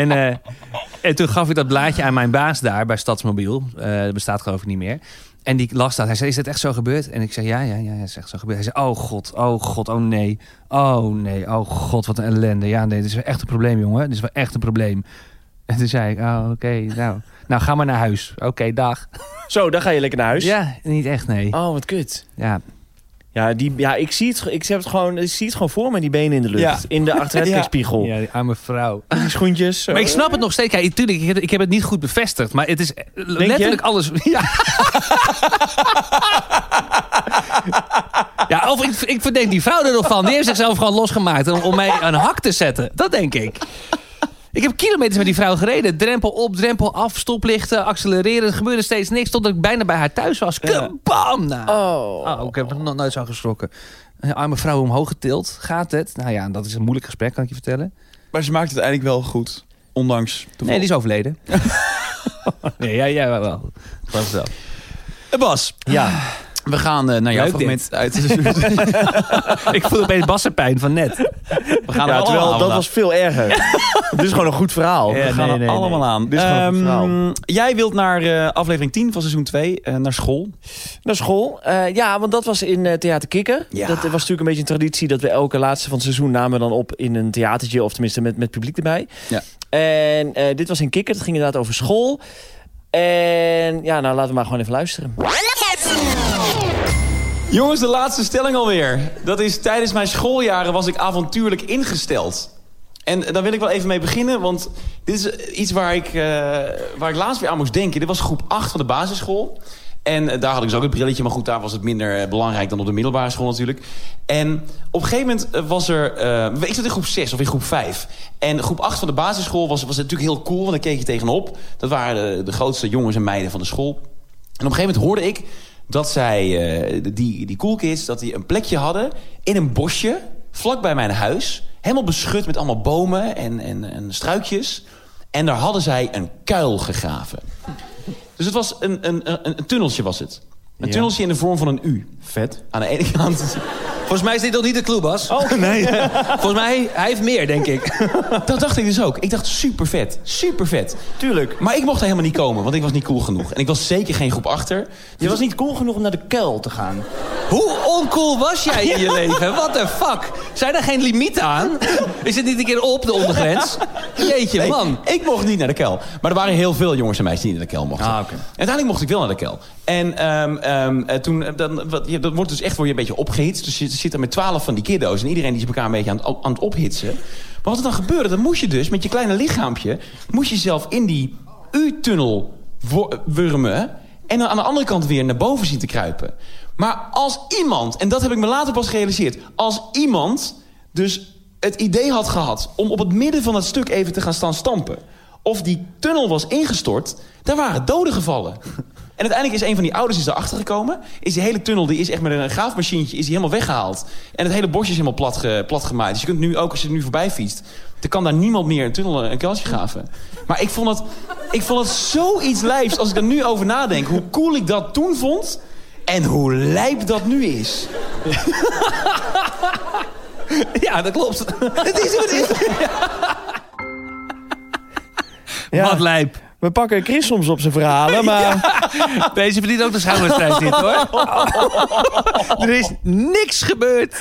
S3: en, eh, en toen gaf ik dat blaadje aan mijn baas daar bij Stadsmobiel. Eh, dat bestaat geloof ik niet meer. En die las dat. Hij zei, is dat echt zo gebeurd? En ik zei, ja, ja, ja, ja, is echt zo gebeurd. Hij zei, oh god, oh god, oh nee. Oh nee, oh god, wat een ellende. Ja, nee, dit is wel echt een probleem, jongen. Dit is wel echt een probleem. En toen zei ik, oh, oké, nou. Nou, ga maar naar huis. Oké, dag.
S4: Zo, dan ga je lekker naar huis.
S3: Ja, niet echt, nee.
S4: Oh, wat kut.
S3: Ja.
S4: Ja, die, ja ik, zie het, ge- ik, heb het gewoon, ik zie het gewoon voor me, die benen in de lucht.
S2: Ja.
S4: In de achteruitkijkspiegel.
S3: ja, die arme vrouw.
S4: Die schoentjes. zo.
S3: Maar ik snap het nog steeds. Kijk, tuurlijk, ik heb, ik heb het niet goed bevestigd. Maar het is eh, letterlijk alles... Ja. ja, of ik, ik verdenk die vrouw er nog van. Die heeft zichzelf gewoon losgemaakt om, om mij een hak te zetten. Dat denk ik. Ik heb kilometers met die vrouw gereden. Drempel op, drempel af, stoplichten, accelereren. Er gebeurde steeds niks totdat ik bijna bij haar thuis was. Kabam! Nou.
S4: Oh.
S3: Oh, ik heb er nog nooit zo geschrokken. Een arme vrouw omhoog getild. Gaat het? Nou ja, dat is een moeilijk gesprek, kan ik je vertellen.
S2: Maar ze maakt het eigenlijk wel goed. Ondanks de
S3: Nee, die is overleden. nee, jij, jij wel. Dat is wel.
S2: Eh, Bas,
S4: Ja.
S2: we gaan eh, naar jouw
S3: Leuk
S2: fragment uit. we
S3: Ik voel opeens bassenpijn van net.
S2: gaan
S4: Ja,
S2: er
S4: terwijl
S2: allemaal
S4: dat
S2: aan.
S4: was veel erger. Dit is gewoon een goed verhaal.
S2: We gaan er allemaal aan.
S4: Dit is gewoon een
S2: Ehm,
S4: goed verhaal.
S2: jij wilt naar eh, aflevering 10 van seizoen 2, eh, naar school.
S4: Naar school. Eh, ja, want dat was in eh Theater Kikker.
S2: Ja.
S4: Dat was natuurlijk een beetje een traditie dat we elke laatste van het seizoen namen dan op in een theatertje. Of tenminste met, met publiek erbij.
S2: Ja.
S4: En eh, dit was in Kikker. Het ging inderdaad over school. En ja, nou laten we maar gewoon even luisteren.
S2: Jongens, de laatste stelling alweer. Dat is tijdens mijn schooljaren was ik avontuurlijk ingesteld. En daar wil ik wel even mee beginnen, want dit is iets waar ik, eh, waar ik laatst weer aan moest denken. Dit was groep 8 van de basisschool. En eh, daar had ik dus ook het brilletje, maar goed, daar was het minder eh, belangrijk dan op de middelbare school natuurlijk. En op een gegeven moment eh, was er. eh, ik zat in groep 6 of in groep 5. En groep 8 van de basisschool was, was natuurlijk heel cool, want daar keek je tegenop. Dat waren de, de grootste jongens en meiden van de school. En op een gegeven moment hoorde ik dat zij, eh, die, die cool kids, dat die een plekje hadden in een bosje vlakbij mijn huis. Helemaal beschut met allemaal bomen en, en, en struikjes. En daar hadden zij een kuil gegraven. Dus het was een, een, een, een tunneltje was het. Een tunneltje in de vorm van een U.
S5: Vet.
S2: Aan de ene kant.
S3: Volgens mij is dit nog niet de clue, Bas. Oh, nee. Volgens mij, hij heeft meer, denk ik.
S2: Dat dacht ik dus ook. Ik dacht super vet. Super vet.
S4: Tuurlijk.
S2: Maar ik mocht er helemaal niet komen, want ik was niet cool genoeg. En ik was zeker geen groep achter.
S6: Je was niet cool genoeg om naar de kuil te gaan.
S3: Hoe oncool was jij in je leven? What the fuck? Zijn er geen limieten aan? Is het niet een keer op, de ondergrens? Jeetje,
S2: Nee,
S3: man.
S2: Ik mocht niet naar de kel. Maar er waren heel veel jongens en meisjes die niet naar de kel mochten.
S3: Ah, oké.
S2: Uiteindelijk mocht ik wel naar de kel. En ehm, ehm, eh, toen, eh, dan, wat, je- dat wordt dus echt voor je een beetje opgehitst. Dus je zit er met twaalf van die kiddo's. En iedereen die is elkaar een beetje aan het, aan het ophitsen. Maar wat er dan gebeurde, dan moest je dus met je kleine lichaampje... moest je zelf in die U-tunnel wo- wurmen. En dan aan de andere kant weer naar boven zien te kruipen. Maar als iemand, en dat heb ik me later pas gerealiseerd... als iemand dus het idee had gehad om op het midden van het stuk even te gaan staan stampen. Of die tunnel was ingestort, daar waren doden gevallen. En uiteindelijk is een van die ouders is erachter gekomen. Is die hele tunnel, die is echt met een graafmachientje, is die helemaal weggehaald. En het hele bosje is helemaal plat, ge- plat gemaakt. Dus je kunt nu ook, als je er nu voorbij fietst, dan kan daar niemand meer een tunnel, een kuiltje graven. Maar ik vond dat, ik vond dat zoiets lijfs, als ik er nu over nadenk, hoe cool ik dat toen vond. En hoe lijp dat nu is.
S3: Ja, dat klopt.
S2: Het is wat het is.
S3: Wat lijp.
S4: We pakken Chris soms op zijn verhalen, maar...
S3: Deze verdient ook de schouderstrijd dit, hoor. Er is niks gebeurd.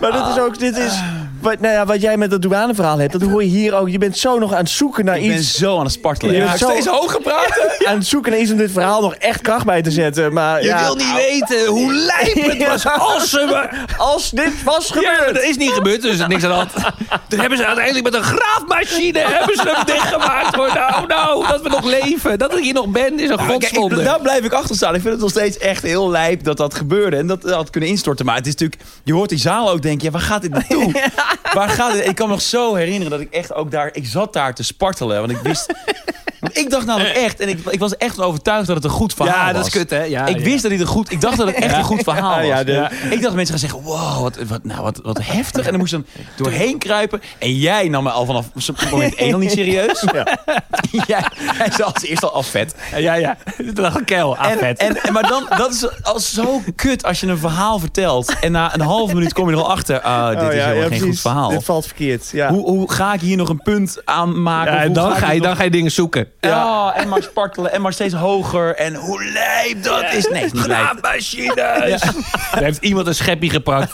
S4: Maar dit is ook, dit is, wat, nou ja, wat jij met dat douaneverhaal hebt, dat hoor je hier ook. Je bent zo nog aan het zoeken naar
S2: Ik ben
S4: iets.
S2: zo aan het spartelen.
S4: Je bent zo
S2: hoger praten.
S4: aan het zoeken naar iets om dit verhaal nog echt kracht bij te zetten. Maar
S3: Je
S4: ja,
S3: wil niet weten hoe lijp het was als ze me...
S4: als dit was gebeurd.
S3: Ja, dat is niet gebeurd, dus er is niks aan de hand. Toen hebben ze uiteindelijk met een graafmachine hebben ze hem dichtgemaakt. Hoor. Nou, nou, dat we nog leven. Dat ik hier nog ben, is een godswonder.
S2: daar blijf ik achter staan. Ik vind het nog steeds echt heel lijp dat dat gebeurde. En dat dat had kunnen instorten. Maar het is natuurlijk... Je hoort die zaal ook denken, ja, waar gaat dit naartoe? Waar gaat dit? Ik kan me nog zo herinneren dat ik echt ook daar... Ik zat daar te spartelen, want ik wist... Want ik dacht namelijk echt, en ik, ik was echt van overtuigd dat het een goed verhaal was.
S3: ja, dat is kut, hè? Ja,
S2: ik
S3: ja.
S2: wist dat dit een goed... Ik dacht dat het echt een goed verhaal was.
S4: Ja, de-
S2: Ik dacht mensen gaan zeggen, wow, wat, wat, nou, wat, wat heftig. En dan moest je dan doorheen kruipen. En jij nam me al vanaf moment één al niet serieus. jij, jij zei als eerst al af vet.
S3: Ja, ja. Het lag een keil
S4: Ah,
S3: aan
S2: En,
S3: vet.
S2: en, en- maar dan, dat is al zo kut als je een verhaal vertelt. En na een halve minuut kom je er al achter. Ah, dit
S4: Oh
S2: is
S4: ja,
S2: helemaal
S4: ja,
S2: geen goed
S4: precies.
S2: verhaal.
S4: Dit valt verkeerd. Ja.
S2: Hoe, hoe ga ik hier nog een punt aan maken?
S3: Ja,
S2: Of
S3: en
S2: hoe
S3: dan
S2: ik
S3: ga, je,
S2: dit
S3: dan ga je dingen zoeken.
S2: nog- Ja, Oh, en maar spartelen. En maar steeds hoger. En hoe lijp dat is. Nee, het is niet lijp.
S3: Graafmachines! Daar heeft iemand een scheppie gepakt.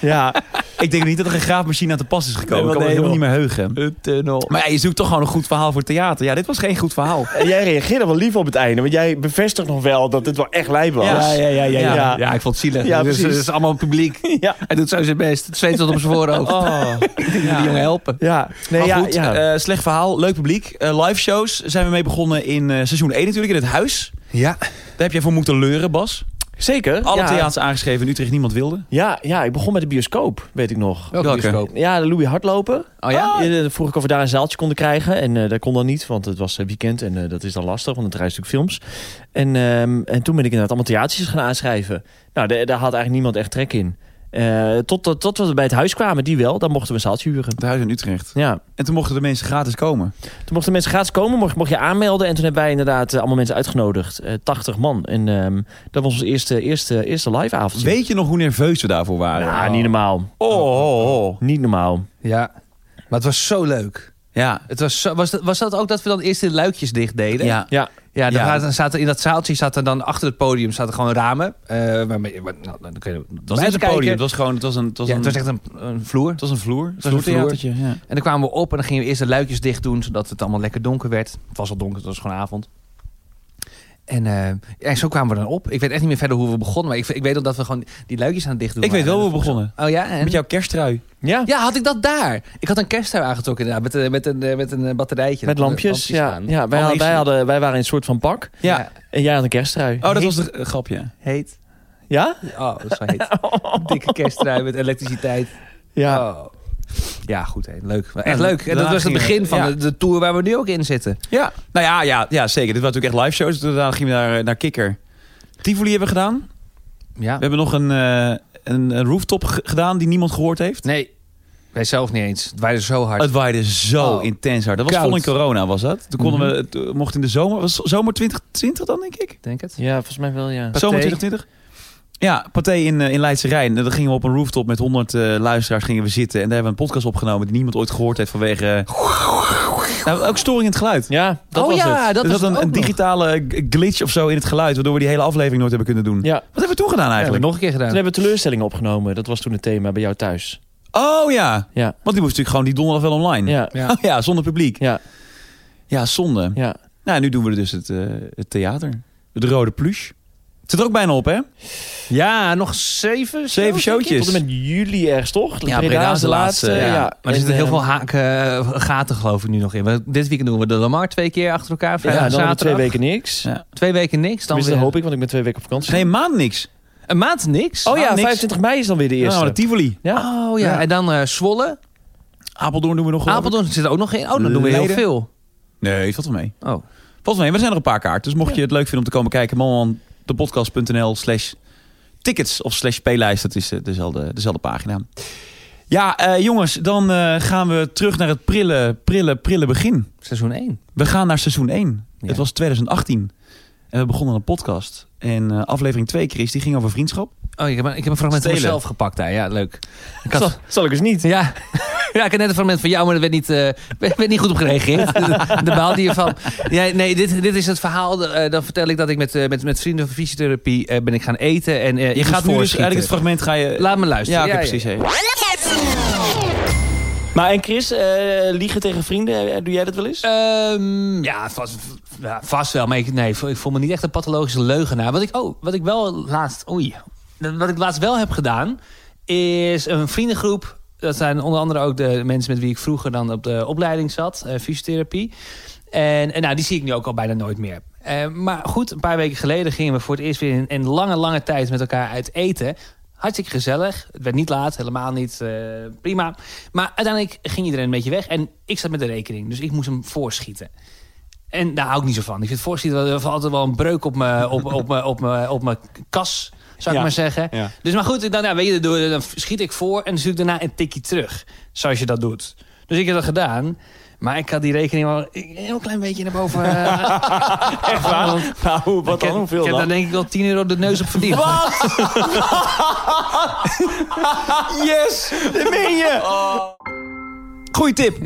S4: ja.
S2: Ik denk niet dat er een graafmachine aan te pas is gekomen.
S4: Nee,
S2: ik kan me
S4: want
S2: helemaal
S4: nee,
S2: niet meer heugen.
S3: Een tunnel.
S2: Maar ja, je zoekt toch gewoon een goed verhaal voor theater. Ja, dit was geen goed verhaal.
S4: En jij reageerde wel lief op het einde, want jij bevestigt nog wel dat dit wel echt lijp was.
S2: Ja, ja, ja,
S3: Ja, ja.
S4: Ja.
S3: ik vond het zielig.
S4: Ja,
S3: dus,
S4: precies.
S3: het is allemaal publiek.
S4: Ja.
S3: Hij doet zo zijn best. Het zweet tot op zijn voorhoofd. Ik denk dat die jongen helpen.
S4: Oh. Ja. Nee,
S2: Maar
S4: ja,
S2: goed,
S4: ja.
S2: eh, slecht verhaal. Leuk publiek. Eh, live shows zijn we mee begonnen in eh, seizoen 1 natuurlijk. In het huis.
S3: Ja.
S2: Daar heb jij voor moeten leuren, Bas.
S4: Zeker.
S2: Alle
S4: ja.
S2: theaters aangeschreven in Utrecht, niemand wilde.
S4: Ja, ja, ik begon met de bioscoop, weet ik nog.
S3: Welke
S2: Welke?
S3: bioscoop?
S4: Ja, de Louis Hardlopen.
S3: Oh ja?
S4: Ja, dan vroeg ik of we daar een zaaltje konden krijgen. En eh, dat kon dan niet, want het was eh, weekend en eh, dat is dan lastig, want het reist natuurlijk films. En, ehm, en toen ben ik inderdaad allemaal theatertjes gaan aanschrijven. Nou, daar, daar had eigenlijk niemand echt trek in. Eh, tot, tot, tot we bij het huis kwamen, die wel, dan mochten we een zaaltje huren.
S2: Het huis in Utrecht.
S4: Ja,
S2: En toen mochten de mensen gratis komen.
S4: toen mochten mensen gratis komen, mocht, mocht je aanmelden. En toen hebben wij inderdaad eh, allemaal mensen uitgenodigd. Eh 80 man. En ehm, dat was ons eerste, eerste, eerste live avondje.
S2: Weet je nog hoe nerveus we daarvoor waren?
S4: Ja, niet normaal.
S2: Oh, oh, oh.
S4: Niet normaal.
S3: Ja. Maar het was zo leuk.
S2: Ja.
S3: Het was, zo- was, dat, was dat ook dat we dan eerst de luikjes dicht deden?
S2: Ja.
S4: Ja,
S3: Ja,
S2: Ja.
S3: daar zaten- zaten, in dat zaaltje zaten dan achter het podium zaten gewoon ramen. Eh waarmee- waar- nou, dan kun je
S2: Het was niet een podium, het was gewoon het was een, het was
S3: Ja,
S2: een,
S3: het was echt een, een vloer.
S2: het was een vloer. Het
S3: was een
S2: vloertheatertje, Ja.
S3: En dan kwamen we op en dan gingen we eerst de luikjes dicht doen, zodat het allemaal lekker donker werd. Het was al donker, het was gewoon avond. En, eh, ja, zo kwamen we dan op. Ik weet echt niet meer verder hoe we begonnen, maar ik, ik weet nog dat we gewoon die luikjes aan het dicht doen
S2: Ik weet wel
S3: waren.
S2: hoe we begonnen.
S3: Oh ja? En?
S2: Met jouw kersttrui.
S4: ja.
S3: Ja, had ik dat daar. Ik had een kersttuin aangetrokken inderdaad, met, een- met, een, eh, met een eh, batterijtje.
S4: Met
S3: Dat-
S4: lampjes. Ja,
S3: aan.
S4: ja wij, hadden, wij,
S2: Allereerst-
S4: hadden, wij waren in een soort van pak.
S2: Ja.
S4: En jij had een kersttrui.
S2: Oh, dat was de eh, grapje.
S3: Heet.
S4: Ja?
S3: Oh, dat is wel heet. Dikke kersttrui met elektriciteit.
S4: Ja.
S3: Oh. Ja, goed. hè. Leuk. Maar Echt
S2: Ja,
S3: leuk. En dat
S2: daarna
S3: was het
S2: gingen we-
S3: begin van
S2: ja.
S3: de, de tour waar we nu ook in zitten.
S2: Ja. Nou ja, ja, ja zeker. Dit was natuurlijk echt live shows. Toen daarna gingen we naar, eh, naar Kikker. Tivoli hebben we gedaan.
S3: Ja.
S2: We hebben nog een, eh, een, een rooftop g- gedaan die niemand gehoord heeft.
S3: Nee, wij zelf niet eens. Het waaide zo hard.
S2: Het waaide zo
S3: Oh.
S2: intens hard. Dat was
S3: Koud. Mhm.
S2: vol in corona, was dat? Toen konden we, het, eh, mocht in de zomer, was zomer 2020 dan, denk ik?
S3: denk het.
S4: Ja, volgens mij wel, ja.
S2: Zomer 2020? Ja, Pathé in, eh, in Leidse Rijn. En dan gingen we op een rooftop met 100 eh, luisteraars gingen we zitten. En daar hebben we een podcast opgenomen die niemand ooit gehoord heeft vanwege... eh, nou, ook storing in het geluid.
S4: Ja, dat
S3: oh
S4: was
S3: ja,
S4: het.
S3: dat
S2: er
S3: was
S2: zat een,
S3: het
S2: een
S3: ook nog.
S2: digitale g- glitch of zo in het geluid, waardoor we die hele aflevering nooit hebben kunnen doen.
S4: Ja.
S2: Wat hebben we toen gedaan
S3: Ja,
S2: eigenlijk?
S3: nog een keer gedaan.
S4: Toen hebben we teleurstellingen opgenomen. Dat was toen het thema bij jou thuis.
S2: Oh ja,
S4: Ja.
S2: want die moest natuurlijk gewoon die donderdag wel online.
S4: Ja.
S3: Ja.
S2: Oh ja, zonder publiek.
S4: Ja.
S2: Ja, zonde.
S4: Ja.
S2: Nou, nu doen we dus het, eh, het theater. Het rode pluche. Het zit er ook bijna op, hè?
S3: Ja, nog
S2: Zeven
S3: zeven shows, denk ik.
S2: showtjes.
S4: Tot en met juli ergens, toch?
S2: Ja, Breda is de laatste, ja.
S3: Maar er
S4: En,
S3: zitten heel
S4: eh,
S3: veel haken, eh, gaten geloof ik nu nog in. Want dit weekend doen we de Lamar twee keer achter elkaar.
S4: Ja,
S3: Vrijdag,
S4: dan hebben we
S3: zaterdag.
S4: twee weken niks.
S2: Ja.
S3: Twee weken niks. Dan
S4: Tenminste,
S3: weer
S4: dat hoop ik, want ik ben twee weken op vakantie.
S2: Nee, maand niks.
S3: een maand niks.
S4: oh ja,
S2: niks.
S4: 25 mei is dan weer de
S2: Nou,
S4: eerste.
S2: de Tivoli.
S4: ja.
S3: Oh ja. En dan eh, Zwolle.
S2: Apeldoorn doen we nog geloof ik.
S3: Apeldoorn zit er ook nog in. Oh, dan doen we heel
S2: Leiden.
S3: veel.
S2: Nee, valt wel mee.
S3: Oh.
S2: Valt wel mee. Maar er zijn nog een paar kaarten. Dus mocht je het leuk vinden om te komen kijken, manmandepodcast.nl slash tickets of slash playlijst. Dat is eh, dezelfde, dezelfde pagina. Ja, eh, jongens, dan eh, gaan we terug naar het prille, prille, prille begin.
S3: Seizoen 1.
S2: We gaan naar seizoen 1.
S3: Ja.
S2: Het was 2018. En we begonnen een podcast. En eh, aflevering 2, Chris, die ging over vriendschap.
S3: Oh, ik heb, een- ik heb een fragment van
S2: Stelen.
S3: mezelf gepakt daar. Ja, leuk. Ik had-
S4: Zal, zal ik eens niet.
S3: Ja. Ja, ik had net een fragment van jou, maar daar werd niet, eh, werd- werd niet goed op gereageerd. Daar baalde je van. Ja, nee, dit, dit is het verhaal. eh, dan vertel ik dat ik met, eh, met, met vrienden van fysiotherapie eh, ben ik gaan eten. En, eh,
S2: Je
S3: iets
S2: gaat nu dus
S3: voorschieten.
S2: eigenlijk het fragment ga je...
S3: Laat me luisteren.
S2: ja, oké, precies. hè.
S4: Maar en Chris, eh, liegen tegen vrienden, eh, doe jij dat wel eens?
S3: Ehm, ja, vast, ja, vast wel. Maar ik, nee, ik voel- ik voel me niet echt een pathologische leugenaar. Wat ik, oh, wat ik wel laatst... Oei. Wat ik laatst wel heb gedaan, is een vriendengroep. Dat zijn onder andere ook de mensen met wie ik vroeger dan op de opleiding zat. eh, fysiotherapie. En, en nou, die zie ik nu ook al bijna nooit meer. Eh, maar goed, een paar weken geleden gingen we voor het eerst weer in, in lange, lange tijd met elkaar uit eten. Hartstikke gezellig. Het werd niet laat, helemaal niet. eh, prima. Maar uiteindelijk ging iedereen een beetje weg. En ik zat met de rekening, dus ik moest hem voorschieten. En daar hou ik niet zo van. Ik vind voorschieten wel- altijd wel een breuk op mijn op, op, mijn- op, mijn- op mijn kas, zou ik
S4: Ja.
S3: maar zeggen.
S5: Ja.
S3: Dus maar goed, dan, ja, weet je, dan, dan schiet ik voor en dan zoek ik daarna een tikje terug. Zoals je dat doet. Dus ik heb dat gedaan. Maar ik had die rekening wel een heel klein beetje naar boven. Echt waar?
S4: Nou, wat dan?
S3: ik
S4: Hoeveel
S3: heb daar
S4: dan?
S3: denk ik wel 10 euro de neus op verdiend.
S2: Yes! Dat meen je! Oh. Goeie tip.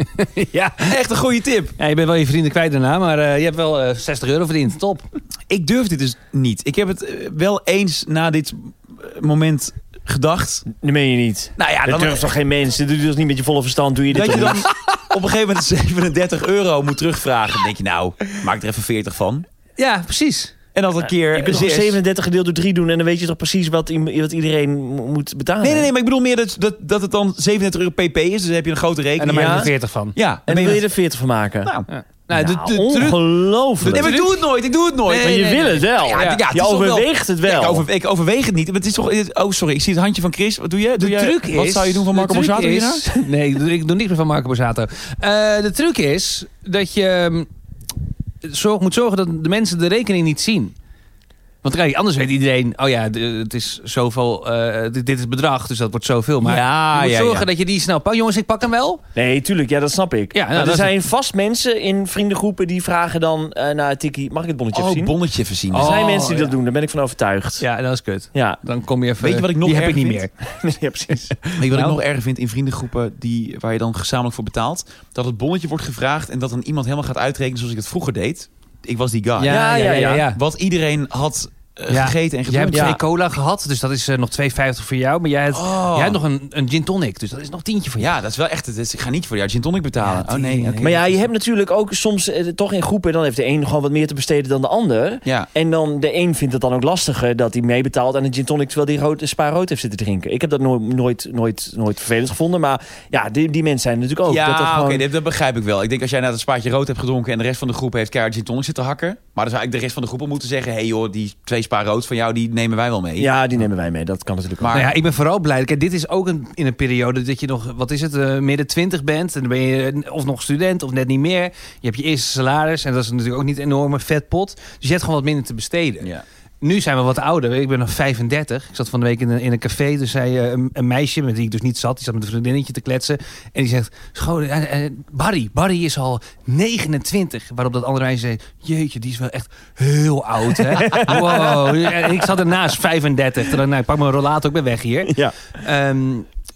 S3: ja.
S2: Echt een goede tip.
S3: ja, je bent wel je vrienden kwijt daarna, maar eh, je hebt wel eh, 60 euro verdiend. Top.
S2: Ik durf dit dus niet. Ik heb het eh, wel eens na dit eh, moment gedacht.
S4: Dat meen je niet.
S2: Nou ja,
S4: dat
S2: Ah, dan,
S4: durft toch geen mens? Dat doe je dus niet met je volle verstand. Doe je dit
S2: dat je
S4: toch
S2: dan
S4: niet?
S2: op een gegeven moment 37 euro moet terugvragen. Dan denk je, nou, maak er even 40 van.
S3: Ja, precies.
S2: En dan een
S4: Je
S2: keer
S4: kunt toch
S2: zes.
S4: 37 gedeeld door 3 doen en dan weet je toch precies wat, i- wat iedereen mo- moet betalen.
S2: Oh, Nee, nee, nee, maar ik bedoel meer dat, dat, dat het dan 37 euro pp is. Dus dan heb je een grote
S3: En
S2: rekening.
S3: dan maak
S2: ja.
S3: je er 40 van.
S2: ja,
S4: En
S2: dan
S4: dan
S2: ben
S4: wil je
S2: je-
S4: er 40 van maken.
S2: Nou,
S3: Ja. Nou, de- de- de-
S4: Ongelooflijk.
S2: Nee, maar ik doe het nooit. Ik doe het nooit.
S3: Nee,
S4: maar je
S3: nee,
S4: wil
S3: nee.
S4: het wel.
S2: Ja, ja, het
S4: je
S2: is toch wel-
S4: overweegt het
S2: Ja,
S4: wel.
S2: ik, over- ik overweeg het niet. Maar het is toch... Oh, sorry. Ik zie het handje van Chris. Wat doe je? Doe
S3: De
S2: jij-
S3: truc is...
S2: Wat zou je doen van
S3: de
S2: Marco
S3: truc
S2: Borsato
S3: is-
S2: hierna?
S3: Nee, ik doe, ik doe niks meer van Marco Borsato. Eh, de truc is dat je mm, zorg, moet zorgen dat de mensen de rekening niet zien. Want kijk, anders weet iedereen... Oh ja, de- het is zoveel... eh, dit, dit is het bedrag, dus dat wordt zoveel. Maar
S2: Ja,
S3: je moet
S2: ja,
S3: zorgen
S2: ja.
S3: dat je die snel pakt. Jongens, ik pak hem wel.
S4: Nee, tuurlijk. Ja, dat snap ik.
S3: Ja, nou,
S4: Maar
S3: dat
S4: er
S3: is
S4: zijn vast mensen in vriendengroepen die vragen dan eh naar Tikkie... Mag ik het bonnetje even
S2: Oh,
S4: zien?
S2: bonnetje voorzien.
S4: er zijn
S3: Oh,
S4: mensen die
S3: ja.
S4: dat doen. Daar ben ik van overtuigd. Ja,
S3: Ja, dat is kut.
S4: ja.
S3: Dan kom je even...
S2: Weet je wat ik nog
S3: Die heb
S2: erg
S3: ik niet
S2: vind?
S3: meer.
S4: precies.
S2: Weet je wat
S3: Nou.
S2: ik nog erger vind in vriendengroepen die, waar je dan gezamenlijk voor betaalt? Dat het bonnetje wordt gevraagd en dat dan iemand helemaal gaat uitrekenen zoals ik het vroeger deed. Ik was die guy.
S4: Ja, ja, ja.
S2: Wat iedereen had eh,
S3: Ja.
S2: gegeten en
S3: Jij hebt
S2: gedronken.
S3: twee cola
S4: Ja.
S3: gehad, dus dat is eh, nog 2,50 voor jou. Maar jij hebt,
S2: Oh.
S3: jij hebt nog een, een gin tonic, dus dat is nog tientje voor jou.
S2: Ja, dat is wel echt. het is- ik ga niet voor jou gin tonic betalen.
S3: Ja,
S2: oh nee.
S3: die-
S2: oké.
S4: Maar ja, je hebt natuurlijk ook soms eh, toch in groepen... dan heeft de een gewoon wat meer te besteden dan de ander.
S2: Ja.
S4: En dan de een vindt het dan ook lastiger dat hij meebetaalt aan een gin tonic... terwijl hij rood, spa rood heeft zitten drinken. Ik heb dat nooit, nooit, nooit, nooit vervelend gevonden. Maar ja, die, die mensen zijn er natuurlijk ook.
S2: ja,
S4: dat dat
S2: oké,
S4: gewoon...
S2: dit- dat begrijp ik wel. Ik denk als jij na het spaatje rood hebt gedronken en de rest van de groep heeft keihard gin tonic zitten hakken. Maar dan zou ik de rest van de groep al moeten zeggen: hé hey joh, die twee spa rood van jou, die nemen wij wel mee.
S4: ja, die nemen wij mee. Dat kan natuurlijk
S2: Maar
S3: Nou ja, ik ben vooral blij. Kijk, dit is ook een, in een periode dat je nog, wat is het, eh, midden twintig bent. En dan ben je eh, of nog student of net niet meer. Je hebt je eerste salaris en dat is natuurlijk ook niet een enorme vetpot. Dus je hebt gewoon wat minder te besteden.
S2: Ja.
S3: Nu zijn we wat ouder. Ik ben nog 35. Ik zat van de week in een, in een café. Dus zei eh, een, een meisje met wie ik dus niet zat. Die zat met een vriendinnetje te kletsen. En die zegt, "Schoon, eh, eh, Barry, Barry is al 29. Waarop dat andere meisje zei, jeetje, die is wel echt heel oud. Hè? wow. En ik zat ernaast 35. Toen dacht ik, nou, ik pak mijn rollator, ik ben weg hier.
S4: Ja.
S3: Ehm,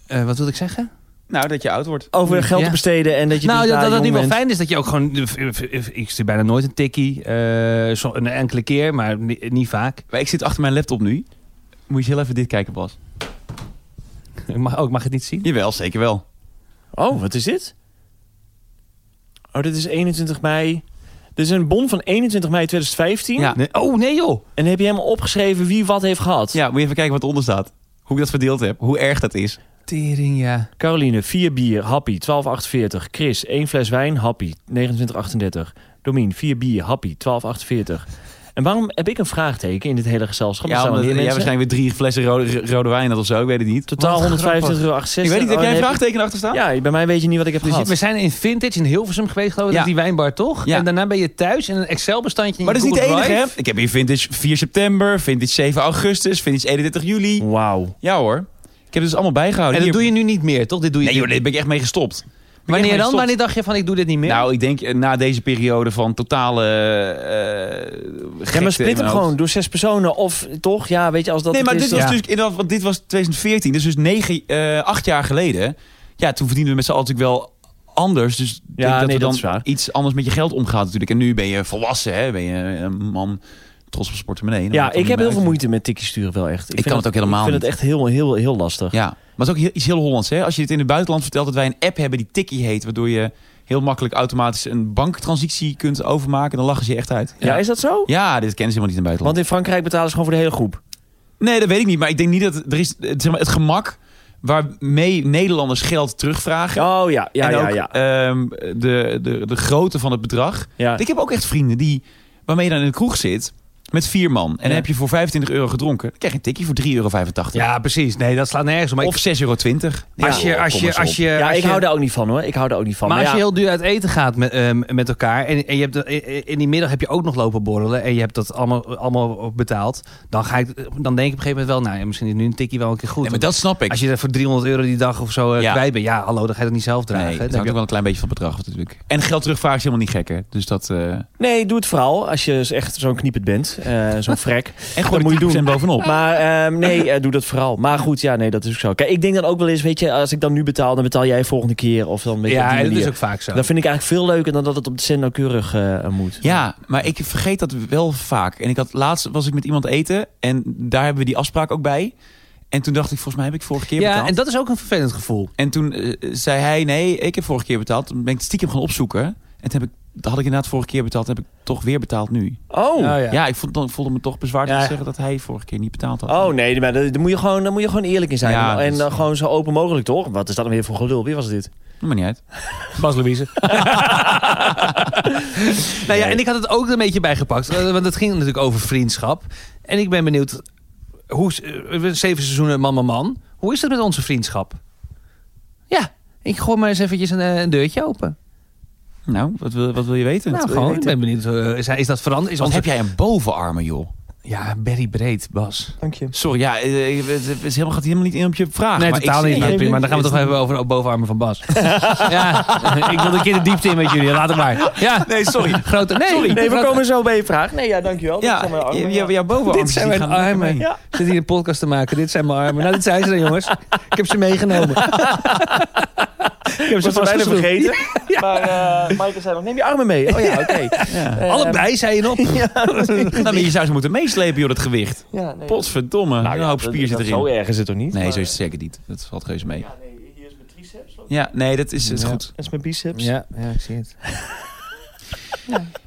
S3: eh, wat wilde ik zeggen?
S2: Nou, dat je oud wordt.
S4: over geld
S3: Ja.
S4: te besteden en dat je
S3: nou,
S4: dus
S3: dat,
S4: daar
S3: dat het
S4: jong
S3: nu wel
S4: bent.
S3: fijn is dat je ook gewoon... Ik stuur bijna nooit een tikkie. eh, zo- een enkele keer, maar ni- niet vaak.
S2: Maar ik zit achter mijn laptop nu. Moet je heel even dit kijken, Bas.
S3: Ik mag, ook mag het niet zien?
S2: Jawel, zeker wel.
S4: Oh, wat is dit? Oh, dit is 21 mei. Dit is een bon van 21 mei 2015.
S2: Ja.
S3: Nee. Oh, nee joh.
S4: En heb je helemaal opgeschreven wie wat heeft gehad?
S2: Ja, moet je even kijken wat eronder staat. Hoe ik dat verdeeld heb. Hoe erg dat is.
S3: Tering, ja.
S4: Caroline, 4 bier, happy, 12,48. Chris, 1 fles wijn, happy, 29,38. Domien, 4 bier, happy, 12,48. En waarom heb ik een vraagteken in dit hele gezelschap? Er
S2: Ja,
S4: staan
S2: omdat
S4: meer
S2: jij
S4: mensen.
S2: waarschijnlijk weer drie flessen rode, rode wijn had of zo. Ik weet het niet.
S4: Totaal
S3: Wat grappig.
S4: 125,68 euro.
S2: Ik weet niet,
S4: Oh,
S2: heb jij een vraagteken achter staan?
S4: Ja, bij mij weet je niet wat ik heb
S3: Dus
S4: gehad.
S3: we zijn in Vintage in Hilversum geweest, geloof ik,
S2: Ja.
S3: dat die wijnbar toch?
S2: Ja.
S3: En daarna ben je thuis in een Excel-bestandje. in
S2: Maar
S3: je
S2: dat is niet de
S3: Google
S2: enige, hè?
S3: Drive.
S2: Ik heb hier vintage 4 september, vintage 7 augustus, vintage 31 juli.
S4: Wauw.
S2: Ja hoor. Ik heb het dus allemaal
S3: En
S2: bijgehouden.
S3: dat
S2: Hier-
S3: doe je nu niet meer, toch? Dit doe je
S2: Nee joh,
S3: niet
S2: daar ben ik echt mee gestopt. Ben ik echt mee
S3: Wanneer dan?
S2: gestopt.
S3: Wanneer dacht je van, ik doe dit niet meer?
S2: Nou, ik denk eh, na deze periode van totale... eh
S4: Ja, maar split hem gewoon door zes personen. Of toch, ja, weet je, als dat
S2: nee,
S4: het
S2: maar
S4: is,
S2: dit dus- was
S4: ja.
S2: natuurlijk inderdaad, want dit was 2014, dus dus negen, eh, acht jaar geleden. Ja, toen verdienden we met z'n allen natuurlijk wel anders. Dus ik denk dat
S4: nee,
S2: er
S4: dat
S2: dan
S4: is waar.
S2: iets anders met je geld omgaat natuurlijk. En nu ben je volwassen, hè? ben je een man trots op zijn portemonnee. Dan
S4: Ja,
S2: maakt het
S4: ik
S2: niet
S4: heb heel
S2: meer
S4: veel
S2: uit.
S4: moeite met tikkie sturen wel echt.
S2: Ik kan het ook helemaal
S4: Ik vind het echt heel, heel, heel lastig.
S2: Ja, maar het is ook heel, iets heel Hollands. Hè? Als je het in het buitenland vertelt dat wij een app hebben die Tikkie heet, waardoor je heel makkelijk automatisch een banktransitie kunt overmaken, dan lachen ze je echt uit.
S4: Ja, is dat zo?
S2: Ja, dit kennen ze helemaal niet in het buitenland.
S4: Want in Frankrijk betalen ze gewoon voor de hele groep.
S2: Nee, dat weet ik niet. Maar ik denk niet dat er is eh, zeg maar, het gemak waarmee Nederlanders geld terugvragen.
S4: Oh ja, ja,
S2: en
S4: ja,
S2: ook
S4: ja.
S2: ehm, de, de, de grootte van het bedrag.
S4: ja.
S2: Ik heb ook echt vrienden die, waarmee je dan in de kroeg zit met vier man. En dan heb je voor 25 euro gedronken. Dan krijg je een tikkie voor 3,85 euro.
S3: ja, precies. Nee, dat slaat nergens om. Maar
S2: Of 6,20 euro.
S3: ik, als je, als je, als je,
S4: ja,
S3: eh, als
S4: ik
S3: je-
S4: hou daar ook niet van hoor. Ik hou daar ook niet van.
S3: Maar als je
S4: ja,
S3: heel duur uit eten gaat met, ehm, met elkaar en, en je hebt, de- eh, eh, in die middag heb je ook nog lopen borrelen en je hebt dat allemaal, allemaal betaald, dan, ga ik, dan denk ik op een gegeven moment wel, nou ja, misschien is nu een tikkie wel een keer goed.
S2: Nee, maar dat snap ik.
S3: Als je er voor 300 euro die dag of zo eh,
S2: Ja.
S3: kwijt bent, ja, hallo, dan ga je dat niet zelf dragen.
S2: nee, dat
S3: Dan heb
S2: hangt
S3: je
S2: ook wel een klein beetje van het bedrag af natuurlijk. En geld terugvragen is helemaal niet gek, hè? Dus dat... eh,
S4: Nee, doe het vooral als je dus echt zo'n kniepert bent. eh, zo'n frek.
S2: en
S4: Dat
S2: gewoon
S4: moet je doen.
S2: 10% bovenop.
S4: Maar ehm, nee, eh, doe dat vooral. Maar goed, ja, nee, dat is ook zo. Kijk, ik denk dan ook wel eens, weet je, als ik dan nu betaal, dan betaal jij volgende keer. Of dan weet je, op
S3: ja,
S4: die
S3: en dat is
S4: manier.
S3: ook vaak zo.
S4: Dat vind ik eigenlijk veel leuker dan dat het op de cent nauwkeurig eh, moet.
S2: Ja, maar ik vergeet dat wel vaak. En ik had laatst was ik met iemand eten en daar hebben we die afspraak ook bij. En toen dacht ik, volgens mij heb ik vorige keer
S3: ja,
S2: betaald.
S3: en
S2: En,
S3: dat is ook een vervelend gevoel.
S2: toen eh, zei hij, nee, ik heb vorige keer betaald. Toen ben ik het stiekem gaan opzoeken. En toen heb ik, dat had ik inderdaad vorige keer betaald. Toen heb ik toch weer betaald nu.
S4: Oh.
S3: Ja,
S2: Ja,
S3: ja.
S2: ik vond, dan voelde me toch bezwaard om
S4: Ja.
S2: te zeggen dat hij vorige keer niet betaald had.
S4: Oh nee, maar daar daar moet, je gewoon, daar moet je gewoon eerlijk in zijn.
S2: Ja,
S4: en
S2: dus-
S4: dan gewoon zo open mogelijk, toch? Wat is dat dan weer voor gelul? Wie was dit?
S2: maar niet uit.
S7: Bas Louise.
S3: Nou ja, en ik had het ook een beetje bijgepakt. eh, Want het ging natuurlijk over vriendschap. En ik ben benieuwd, hoe, is- eh, we zeven seizoenen man, man, man. Hoe is het met onze vriendschap? Ja, ik gooi maar eens eventjes een, eh, een deurtje open.
S2: Nou, wat wil, wat wil je weten?
S3: nou, gewoon, ik ben benieuwd, eh, is, hij- is dat veranderd? Is
S2: Want
S3: onze-
S2: heb jij een bovenarmen, joh?
S3: Ja, Berry Breed, Bas.
S6: Dank je.
S2: Sorry, ja, eh, eh, het is helemaal, gaat helemaal niet in op je vraag.
S3: nee,
S2: maar
S3: totaal
S2: ik,
S3: niet. Ah, Maar,
S2: ik-
S3: prima, dan gaan we toch even over de bovenarmen van Bas. ja, ik wil een keer de diepte in met jullie. Laat het maar. Ja,
S2: Nee, sorry.
S3: grote... Nee,
S4: Nee, we
S3: grote-
S4: komen zo bij je vraag. Nee, ja,
S6: Dankjewel.
S2: Ja,
S6: Dat zijn mijn armen,
S2: je-
S6: ja.
S2: je- jouw bovenarmen.
S3: Dit zijn mijn armen. Zit hier een podcast te maken. Dit zijn mijn armen. Nou, dit zijn ze dan, jongens. Ik heb ze meegenomen. ik heb ze
S4: was het bijna
S3: vastgeschroefd.
S4: vergeten.
S6: Maar eh Maaike zei nog, neem je arm.
S4: Armen mee. Oh ja, oké. Eh,
S3: Allebei zei je op.
S2: Nou, maar je zou ze moeten meeslepen, joh, dat gewicht.
S6: Ja, nee.
S2: Potverdomme. Nou, een hoop
S4: dat-
S2: spier zit
S4: dat- Zo
S2: erin.
S4: erg is het toch niet?
S2: Nee, zo is het zeker niet. Dat valt reuze mee.
S6: Ja, nee, hier is mijn triceps. Dat
S2: Ja, nee, dat is, dat is
S3: Ja.
S2: goed.
S6: is mijn biceps.
S3: Ja, ja, ik zie het.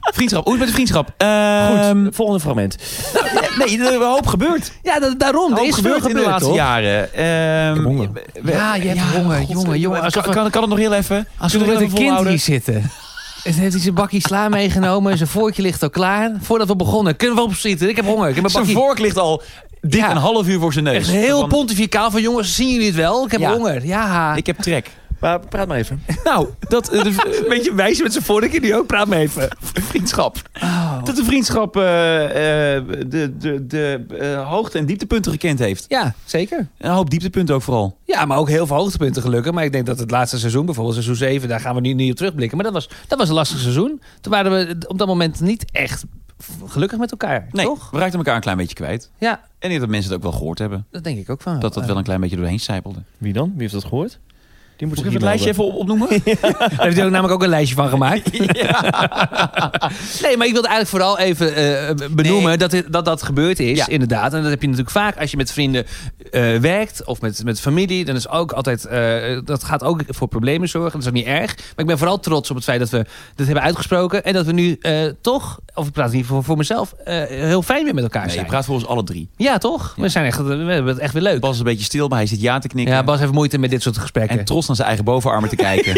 S2: Vriendschap. Hoe is het met de vriendschap?
S6: Ehm,
S4: Goed, volgende fragment.
S2: Goed. Nee, er is een hoop gebeurd.
S3: Ja, da- daarom. Er
S2: Ook
S3: is gebeurd
S2: in de laatste
S3: toch?
S2: jaren. Ehm,
S3: honger.
S2: we- we-
S3: Ja, je hebt honger, jongen, jongen.
S2: Kan,
S3: Alsof we-
S2: kan, kan het nog heel even?
S3: Als we
S2: Kunnen
S3: met
S2: het
S3: een
S2: even
S3: kind
S2: volhouden?
S3: hier zitten. Het heeft hij zijn bakje sla meegenomen. Zijn vorkje ligt al klaar. Voordat we begonnen. Kunnen we opschieten? Ik heb honger. Ik heb een
S2: Zijn
S3: bakje...
S2: vork ligt al dik
S3: Ja.
S2: een half uur voor zijn neus.
S3: Echt heel
S2: Van,
S3: pontificaal van jongens, zien jullie het wel? Ik heb
S2: Ja.
S3: honger. Ja.
S2: Ik heb trek.
S4: Maar praat maar even.
S2: Nou, dat... eh, de-
S3: beetje wijs met zijn vorkje die ook. Praat me even.
S2: vriendschap. Dat de vriendschap eh, eh, de, de, de eh, hoogte- en dieptepunten gekend heeft.
S3: Ja, zeker.
S2: Een hoop dieptepunten ook vooral.
S3: Ja, maar ook heel veel hoogtepunten gelukkig. Maar ik denk dat het laatste seizoen, bijvoorbeeld seizoen 7, daar gaan we nu niet op terugblikken. Maar dat was, dat was een lastig seizoen. Toen waren we op dat moment niet echt gelukkig met elkaar,
S2: Nee,
S3: toch?
S2: we raakten elkaar een klein beetje kwijt.
S3: Ja,
S2: En ik denk dat mensen het ook wel gehoord hebben.
S3: dat denk ik ook van.
S2: Dat dat wel een klein beetje doorheen sijpelde.
S4: Wie dan? Wie heeft dat gehoord? Die moet
S2: Moet
S4: zich
S2: ik even het
S4: hier
S2: lijstje even op- opnoemen?
S3: Daar heeft hij ook namelijk ook een lijstje van gemaakt. nee, maar ik wilde eigenlijk vooral even eh, benoemen
S2: Nee.
S3: dat, dit- dat dat gebeurd is,
S2: Ja.
S3: inderdaad. En dat heb je natuurlijk vaak als je met vrienden eh, werkt of met, met familie. Dan is ook altijd, eh, dat gaat ook voor problemen zorgen. Dat is ook niet erg. Maar ik ben vooral trots op het feit dat we dit hebben uitgesproken. En dat we nu eh, toch, of ik praat niet voor, voor mezelf, eh, heel fijn weer met elkaar
S2: Nee, je
S3: zijn.
S2: praat voor ons alle drie.
S3: Ja, toch?
S2: Ja.
S3: We, zijn echt, we hebben het echt weer leuk.
S2: Bas is een beetje stil, maar hij zit ja te knikken.
S3: ja, Bas heeft moeite met dit soort gesprekken.
S2: En trots naar zijn eigen bovenarmen te kijken.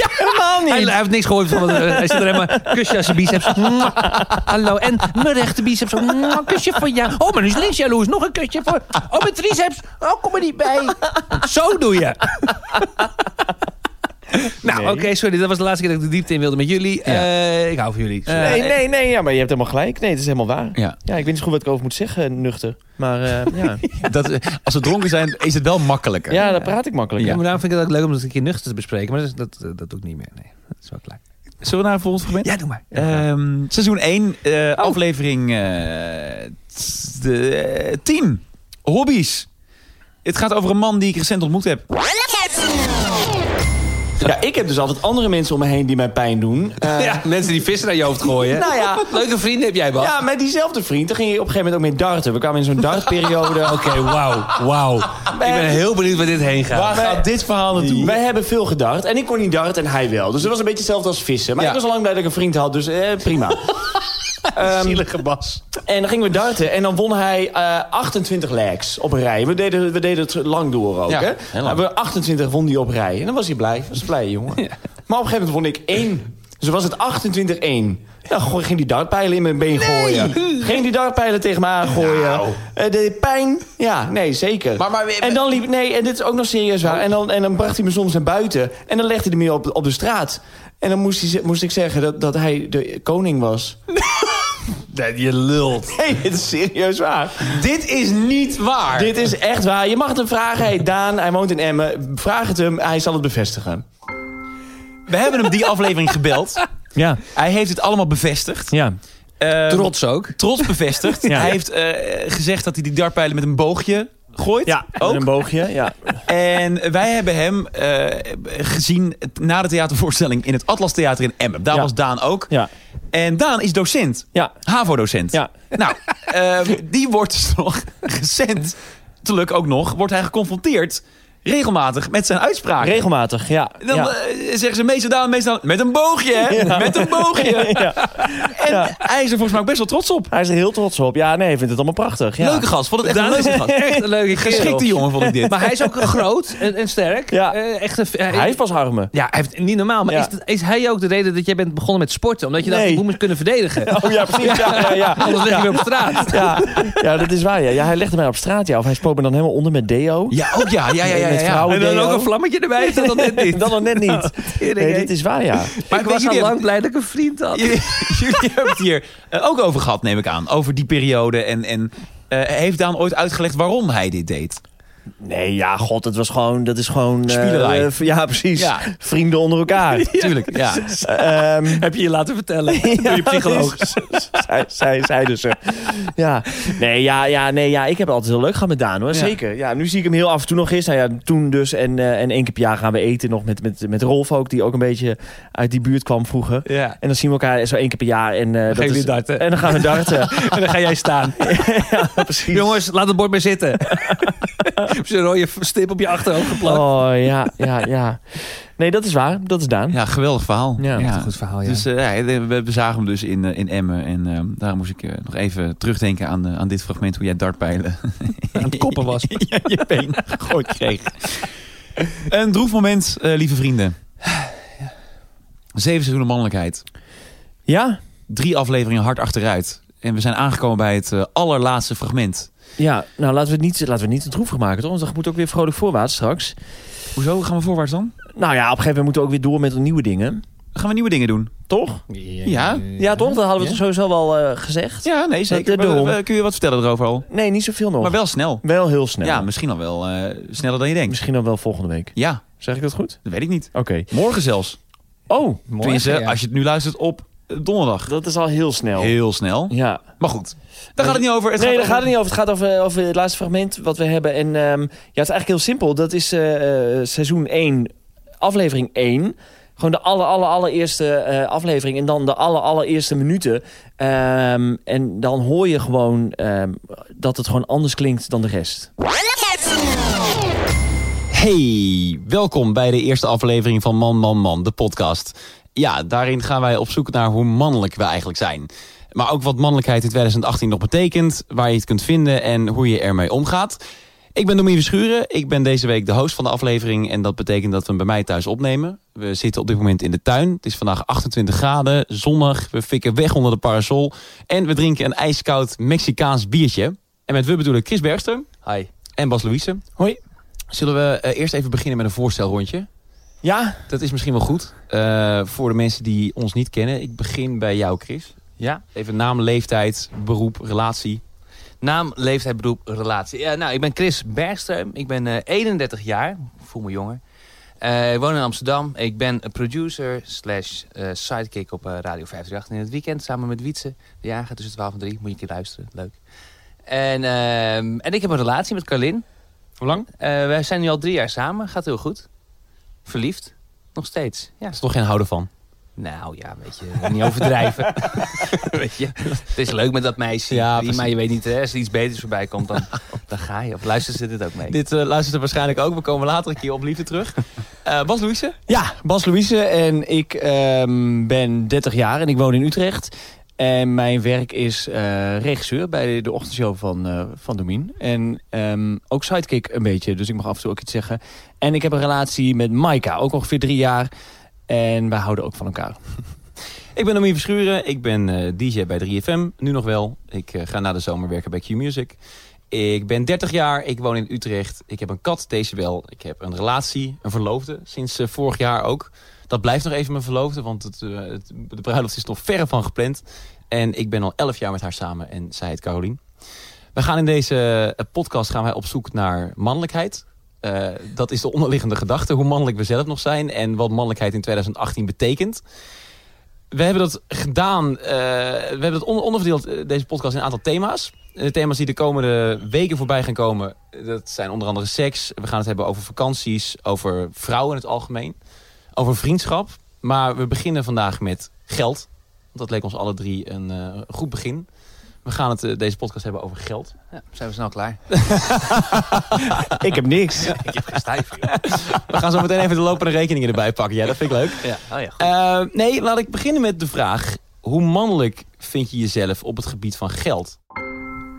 S3: Hij, hij heeft niks gehoord van. want, eh, Hij zit er helemaal. Kusje aan zijn biceps. Mwah. Hallo. En mijn rechter biceps. Mwah. Kusje voor jou. Oh, maar nu is links jaloers. Nog een kusje voor. Oh, mijn triceps. Oh, kom er niet bij. Zo doe je. Nou, oké, sorry. Dat was de laatste keer dat ik de diepte in wilde met jullie. Eh, ik hou van jullie.
S4: lopen. Nee, nee, nee. Ja, maar je hebt helemaal gelijk. Nee, het is helemaal waar.
S2: Ja.
S4: Ja, ik weet niet zo goed wat ik over moet zeggen, nuchter. Maar eh, ja.
S2: Dat, eh, als ze dronken zijn, is het wel makkelijker.
S4: ja, daar praat ik makkelijk.
S3: Ja,
S4: Ja.
S3: maar daarom vind ik het ook leuk om dat een keer nuchter te bespreken. Maar dat, is- dat, eh, dat doe ik niet meer. Nee, dat is wel klaar.
S2: Zullen we naar een volgend fragment?
S3: Ja, doe maar.
S2: Ehm, seizoen 1,
S3: Oh.
S2: aflevering eh, t- de, eh, 10. Hobbies. Het gaat over een man die ik recent ontmoet heb.
S6: Ja, ik heb dus altijd andere mensen om me heen die mij pijn doen. Eh,
S3: ja, mensen die vissen naar je hoofd gooien.
S6: Nou ja.
S3: Leuke vrienden heb jij, Bas.
S6: Ja, met diezelfde vriend. Daar ging je op een gegeven moment ook mee darten. We kwamen in zo'n dartperiode. Oké,
S3: Wauw, wauw. Ik ben heel benieuwd waar dit heen gaat.
S6: Waar gaat
S2: dit verhaal
S6: Wij hebben veel gedart. En ik kon niet darten en hij wel. Dus dat was een beetje hetzelfde als vissen. Maar
S2: Ja.
S6: ik was al lang blij dat ik een vriend had, dus eh, prima. Ehm,
S4: Zielige Bas.
S6: en dan gingen we darten. En dan won hij eh, 28 legs op een rij. We deden, we deden het lang door ook.
S2: Ja,
S6: hè?
S2: heel lang.
S6: Maar we 28 won hij op rij. En dan was hij blij. was een blij, jongen. Maar op een gegeven moment won ik één. Dus dan was het 28-1. Nou, gooi- ging die dartpijlen in mijn been gooien. Ging die dartpijlen tegen me aangooien. Eh, de pijn. Ja, nee, zeker.
S2: Nou. Maar- maar-
S6: en dan liep... Nee, en dit is ook nog serieus waar. En dan, en dan bracht hij me soms naar buiten. En dan legde hij me op, op de straat. En dan moest, hij, ze- moest ik zeggen dat, dat hij de koning was.
S3: je lult.
S6: Nee, dit is serieus waar.
S2: Dit is niet waar.
S6: Dit is echt waar. Je mag het hem vragen. Hey, Daan, hij woont in Emmen. Vraag het hem. Hij zal het bevestigen.
S2: We hebben hem die aflevering gebeld.
S4: Ja,
S2: Hij heeft het allemaal bevestigd.
S4: ja.
S2: Ehm,
S3: Trots ook.
S2: trots bevestigd.
S4: Ja.
S2: Hij heeft eh, gezegd dat hij die dartpijlen met een boogje gooit.
S4: Ja,
S2: ook.
S4: met een boogje. Ja.
S2: En wij hebben hem eh, gezien na de theatervoorstelling in het Atlas Theater in Emmen. Daar
S4: Ja.
S2: was Daan ook.
S4: Ja.
S2: En Daan is docent.
S4: Ja.
S2: HAVO-docent.
S4: Ja.
S2: Nou,
S8: eh,
S2: ehm, die wordt dus nog recentelijk ook nog, wordt hij geconfronteerd
S8: Regelmatig met zijn uitspraken.
S4: Regelmatig, ja.
S8: dan
S4: ja.
S8: eh, zeggen ze meestal dame, meestal met een boogje, hè? Met een
S2: eh,
S8: boogje. En hij is er volgens mij ook best wel trots op.
S4: Hij is er heel trots op. Ja, nee, hij vindt het allemaal prachtig. Ja.
S8: Leuke gast, vond het echt een
S3: Daarom is
S8: leuke
S3: het
S8: gast.
S3: echt een leuke
S8: Geschikte
S3: kerel.
S8: jongen vond ik dit.
S3: Maar hij is ook groot en, en sterk.
S4: Ja.
S3: Eh, echt een,
S4: Hij heeft pas armen.
S3: Ja, hij heeft, niet normaal. Maar
S4: Ja.
S3: is, dat- is hij ook de reden dat jij bent begonnen met sporten? Omdat je dacht,
S4: Nee.
S3: ik moet me kunnen verdedigen.
S4: Oh ja, precies. Ja, ja, ja.
S3: Anders lig je weer op straat.
S4: Ja, ja, dat is waar. Ja. Ja, hij legde mij op straat. Ja. Of hij spoot me dan helemaal onder met deo.
S8: Ja, ook ja. Ja, ja, ja. ja,
S4: Met vrouwen
S3: En dan
S4: deo.
S3: ook een vlammetje erbij, is dat dan net niet?
S4: Dan nog net niet. Nee,
S3: hè?
S4: dit is waar, ja.
S3: Maar ik was al
S8: jullie
S3: lang blij dat ik een vriend had.
S8: Jullie, jullie hebben het hier eh, ook over gehad, neem ik aan. Over die periode. En, en eh, heeft Daan ooit uitgelegd waarom hij dit deed?
S4: Nee, ja, god, het was gewoon... Dat is gewoon... eh,
S8: Spielerij.
S4: eh, v- ja, precies.
S8: Ja.
S4: Vrienden onder elkaar.
S8: Tuurlijk, ja.
S4: Ehm,
S3: Heb je je laten vertellen door je psycholoog.
S4: zij, zij, zeiden ze. Ja. Nee, ja, ja, nee, ja, ik heb het altijd heel leuk gehad met Daan, hoor. Zeker. Ja, nu zie ik hem heel af en toe nog eens. Nou ja, toen dus. En, eh, en één keer per jaar gaan we eten nog met, met, met Rolf ook, die ook een beetje uit die buurt kwam vroeger.
S3: Ja.
S4: En dan zien we elkaar zo één keer per jaar. En, eh, dat
S3: jullie
S4: is-
S3: darten.
S4: En dan gaan we darten.
S3: En dan ga jij staan.
S4: Ja, precies.
S3: Jongens, laat het bord maar zitten. Heb je een rode stip op je achterhoofd geplakt.
S4: Oh, ja, ja, ja. Nee, dat is waar. Dat is Daan.
S8: Ja, geweldig verhaal.
S4: Ja,
S3: Echt een goed verhaal, ja.
S8: Dus eh, ja, we- we zagen hem dus in, eh, in Emmen. En eh, daar moest ik eh, nog even terugdenken aan, eh, aan dit fragment. Hoe jij dartpijlen
S3: eh, aan het koppen was.
S8: ja, je been gegooid kreeg. Een droef moment, eh, lieve vrienden. Zeven seizoenen mannelijkheid.
S4: Ja?
S8: Drie afleveringen hard achteruit. En we zijn aangekomen bij het eh, allerlaatste fragment.
S4: Ja, nou laten we het niet, laten we het niet te droevig maken, toch? Want dat moet ook weer vrolijk voorwaarts straks.
S8: Hoezo gaan we voorwaarts dan?
S4: Nou ja, op een gegeven moment moeten we ook weer door met nieuwe dingen.
S8: Dan gaan we nieuwe dingen doen.
S4: Toch?
S8: Ja,
S4: Ja, toch? Dat hadden we toch sowieso wel eh, gezegd.
S8: ja nee, zeker.
S4: Dat- daarom.
S8: We- we- kun je wat vertellen erover al?
S4: Nee, niet zoveel nog.
S8: Maar wel snel.
S4: Wel heel snel.
S8: Ja, misschien al wel eh, sneller dan je denkt.
S4: Misschien dan wel volgende week.
S8: Ja,
S4: Zeg ik dat goed?
S8: dat weet ik niet.
S4: Oké.
S8: Morgen zelfs.
S4: Oh,
S8: Tenminste, als je het nu luistert op eh, donderdag.
S4: dat is al heel snel.
S8: Heel snel.
S4: Ja.
S8: Maar goed, daar gaat het niet over. Het
S4: nee, daar gaat
S8: over-
S4: het niet over. Het gaat over, over het laatste fragment wat we hebben. En ehm, ja, het is eigenlijk heel simpel. Dat is eh, eh, seizoen 1, aflevering 1. Gewoon de aller, aller, allereerste eh, aflevering. En dan de aller, allereerste minuten. Ehm, en dan hoor je gewoon ehm, dat het gewoon anders klinkt dan de rest.
S2: Hey, welkom bij de eerste aflevering van Man, Man, Man, de podcast. Ja, daarin gaan wij op zoek naar hoe mannelijk we eigenlijk zijn. Maar ook wat mannelijkheid in 2018 nog betekent, waar je het kunt vinden en hoe je ermee omgaat. Ik ben Domien Verschuren, ik ben deze week de host van de aflevering en dat betekent dat we hem bij mij thuis opnemen. We zitten op dit moment in de tuin, het is vandaag 28 graden, zonnig, we fikken weg onder de parasol en we drinken een ijskoud Mexicaans biertje. En met we bedoel ik Chris Bergster. Hi. En Bas Louise. Hoi. Zullen we eh, eerst even beginnen met een voorstelrondje?
S4: Ja?
S2: Dat is misschien wel goed. eh, voor de mensen die ons niet kennen. Ik begin bij jou, Chris.
S3: Ja.
S2: Even naam, leeftijd, beroep, relatie.
S3: Naam, leeftijd, beroep, relatie. Ja, nou, ik ben Chris Bergström. Ik ben eh, 31 jaar. Ik voel me jonger. Eh, ik woon in Amsterdam. Ik ben een producer slash eh, sidekick op eh, Radio 538 in het weekend. Samen met Wietse, de jager tussen 12 en 3. Moet je een keer luisteren. Leuk. En, ehm, en ik heb een relatie met Carlin.
S2: Hoe lang?
S3: Eh wij zijn nu al drie jaar samen. Gaat heel goed. Verliefd. Nog steeds. Ja.
S2: Dat is toch geen houden van.
S3: Nou ja, weet je, niet overdrijven. weet je, het is leuk met dat meisje.
S2: Ja,
S3: die,
S2: precies.
S3: maar je weet niet, hè, als er iets beters voorbij komt, dan, dan ga je. Of luisteren ze dit ook mee?
S2: Dit eh, luistert er waarschijnlijk ook. We komen later een keer op liefde terug. Eh Bas Louise?
S6: Ja, Bas Louise en ik ehm, ben 30 jaar en ik woon in Utrecht. En mijn werk is eh, regisseur bij de ochtendshow van, eh van Domien. En ehm, ook sidekick een beetje, dus ik mag af en toe ook iets zeggen. En ik heb een relatie met Maika, ook ongeveer drie jaar. En wij houden ook van elkaar.
S2: Ik ben Domien Verschuren. Ik ben eh, DJ bij 3FM. Nu nog wel. Ik eh, ga na de zomer werken bij Q-Music. Ik ben 30 jaar. Ik woon in Utrecht. Ik heb een kat, deze wel. Ik heb een relatie, een verloofde. Sinds eh, vorig jaar ook. Dat blijft nog even mijn verloofde, want het, eh, het- de bruiloft is nog verre van gepland. En ik ben al 11 jaar met haar samen en zij heet Carolien. We gaan in deze eh, podcast gaan wij op zoek naar mannelijkheid. Eh, dat is de onderliggende gedachte, hoe mannelijk we zelf nog zijn en wat mannelijkheid in 2018 betekent. We hebben dat gedaan. eh, we hebben dat on- onderverdeeld, eh, deze podcast, in een aantal thema's. Eh, De thema's die de komende weken voorbij gaan komen, eh, dat zijn onder andere seks. We gaan het hebben over vakanties, over vrouwen in het algemeen, over vriendschap. Maar we beginnen vandaag met geld. Want dat leek ons alle drie een eh, goed begin.
S5: We gaan het, eh, deze podcast hebben over geld.
S3: Ja, zijn we snel klaar.
S6: Ik heb niks.
S3: Ik heb geen stijf. joh.
S5: We gaan zo meteen even de lopende rekeningen erbij pakken. Ja, dat vind ik leuk.
S3: Ja. Oh ja, goed.
S5: Eh, nee, laat ik beginnen met de vraag. Hoe mannelijk vind je jezelf op het gebied van geld?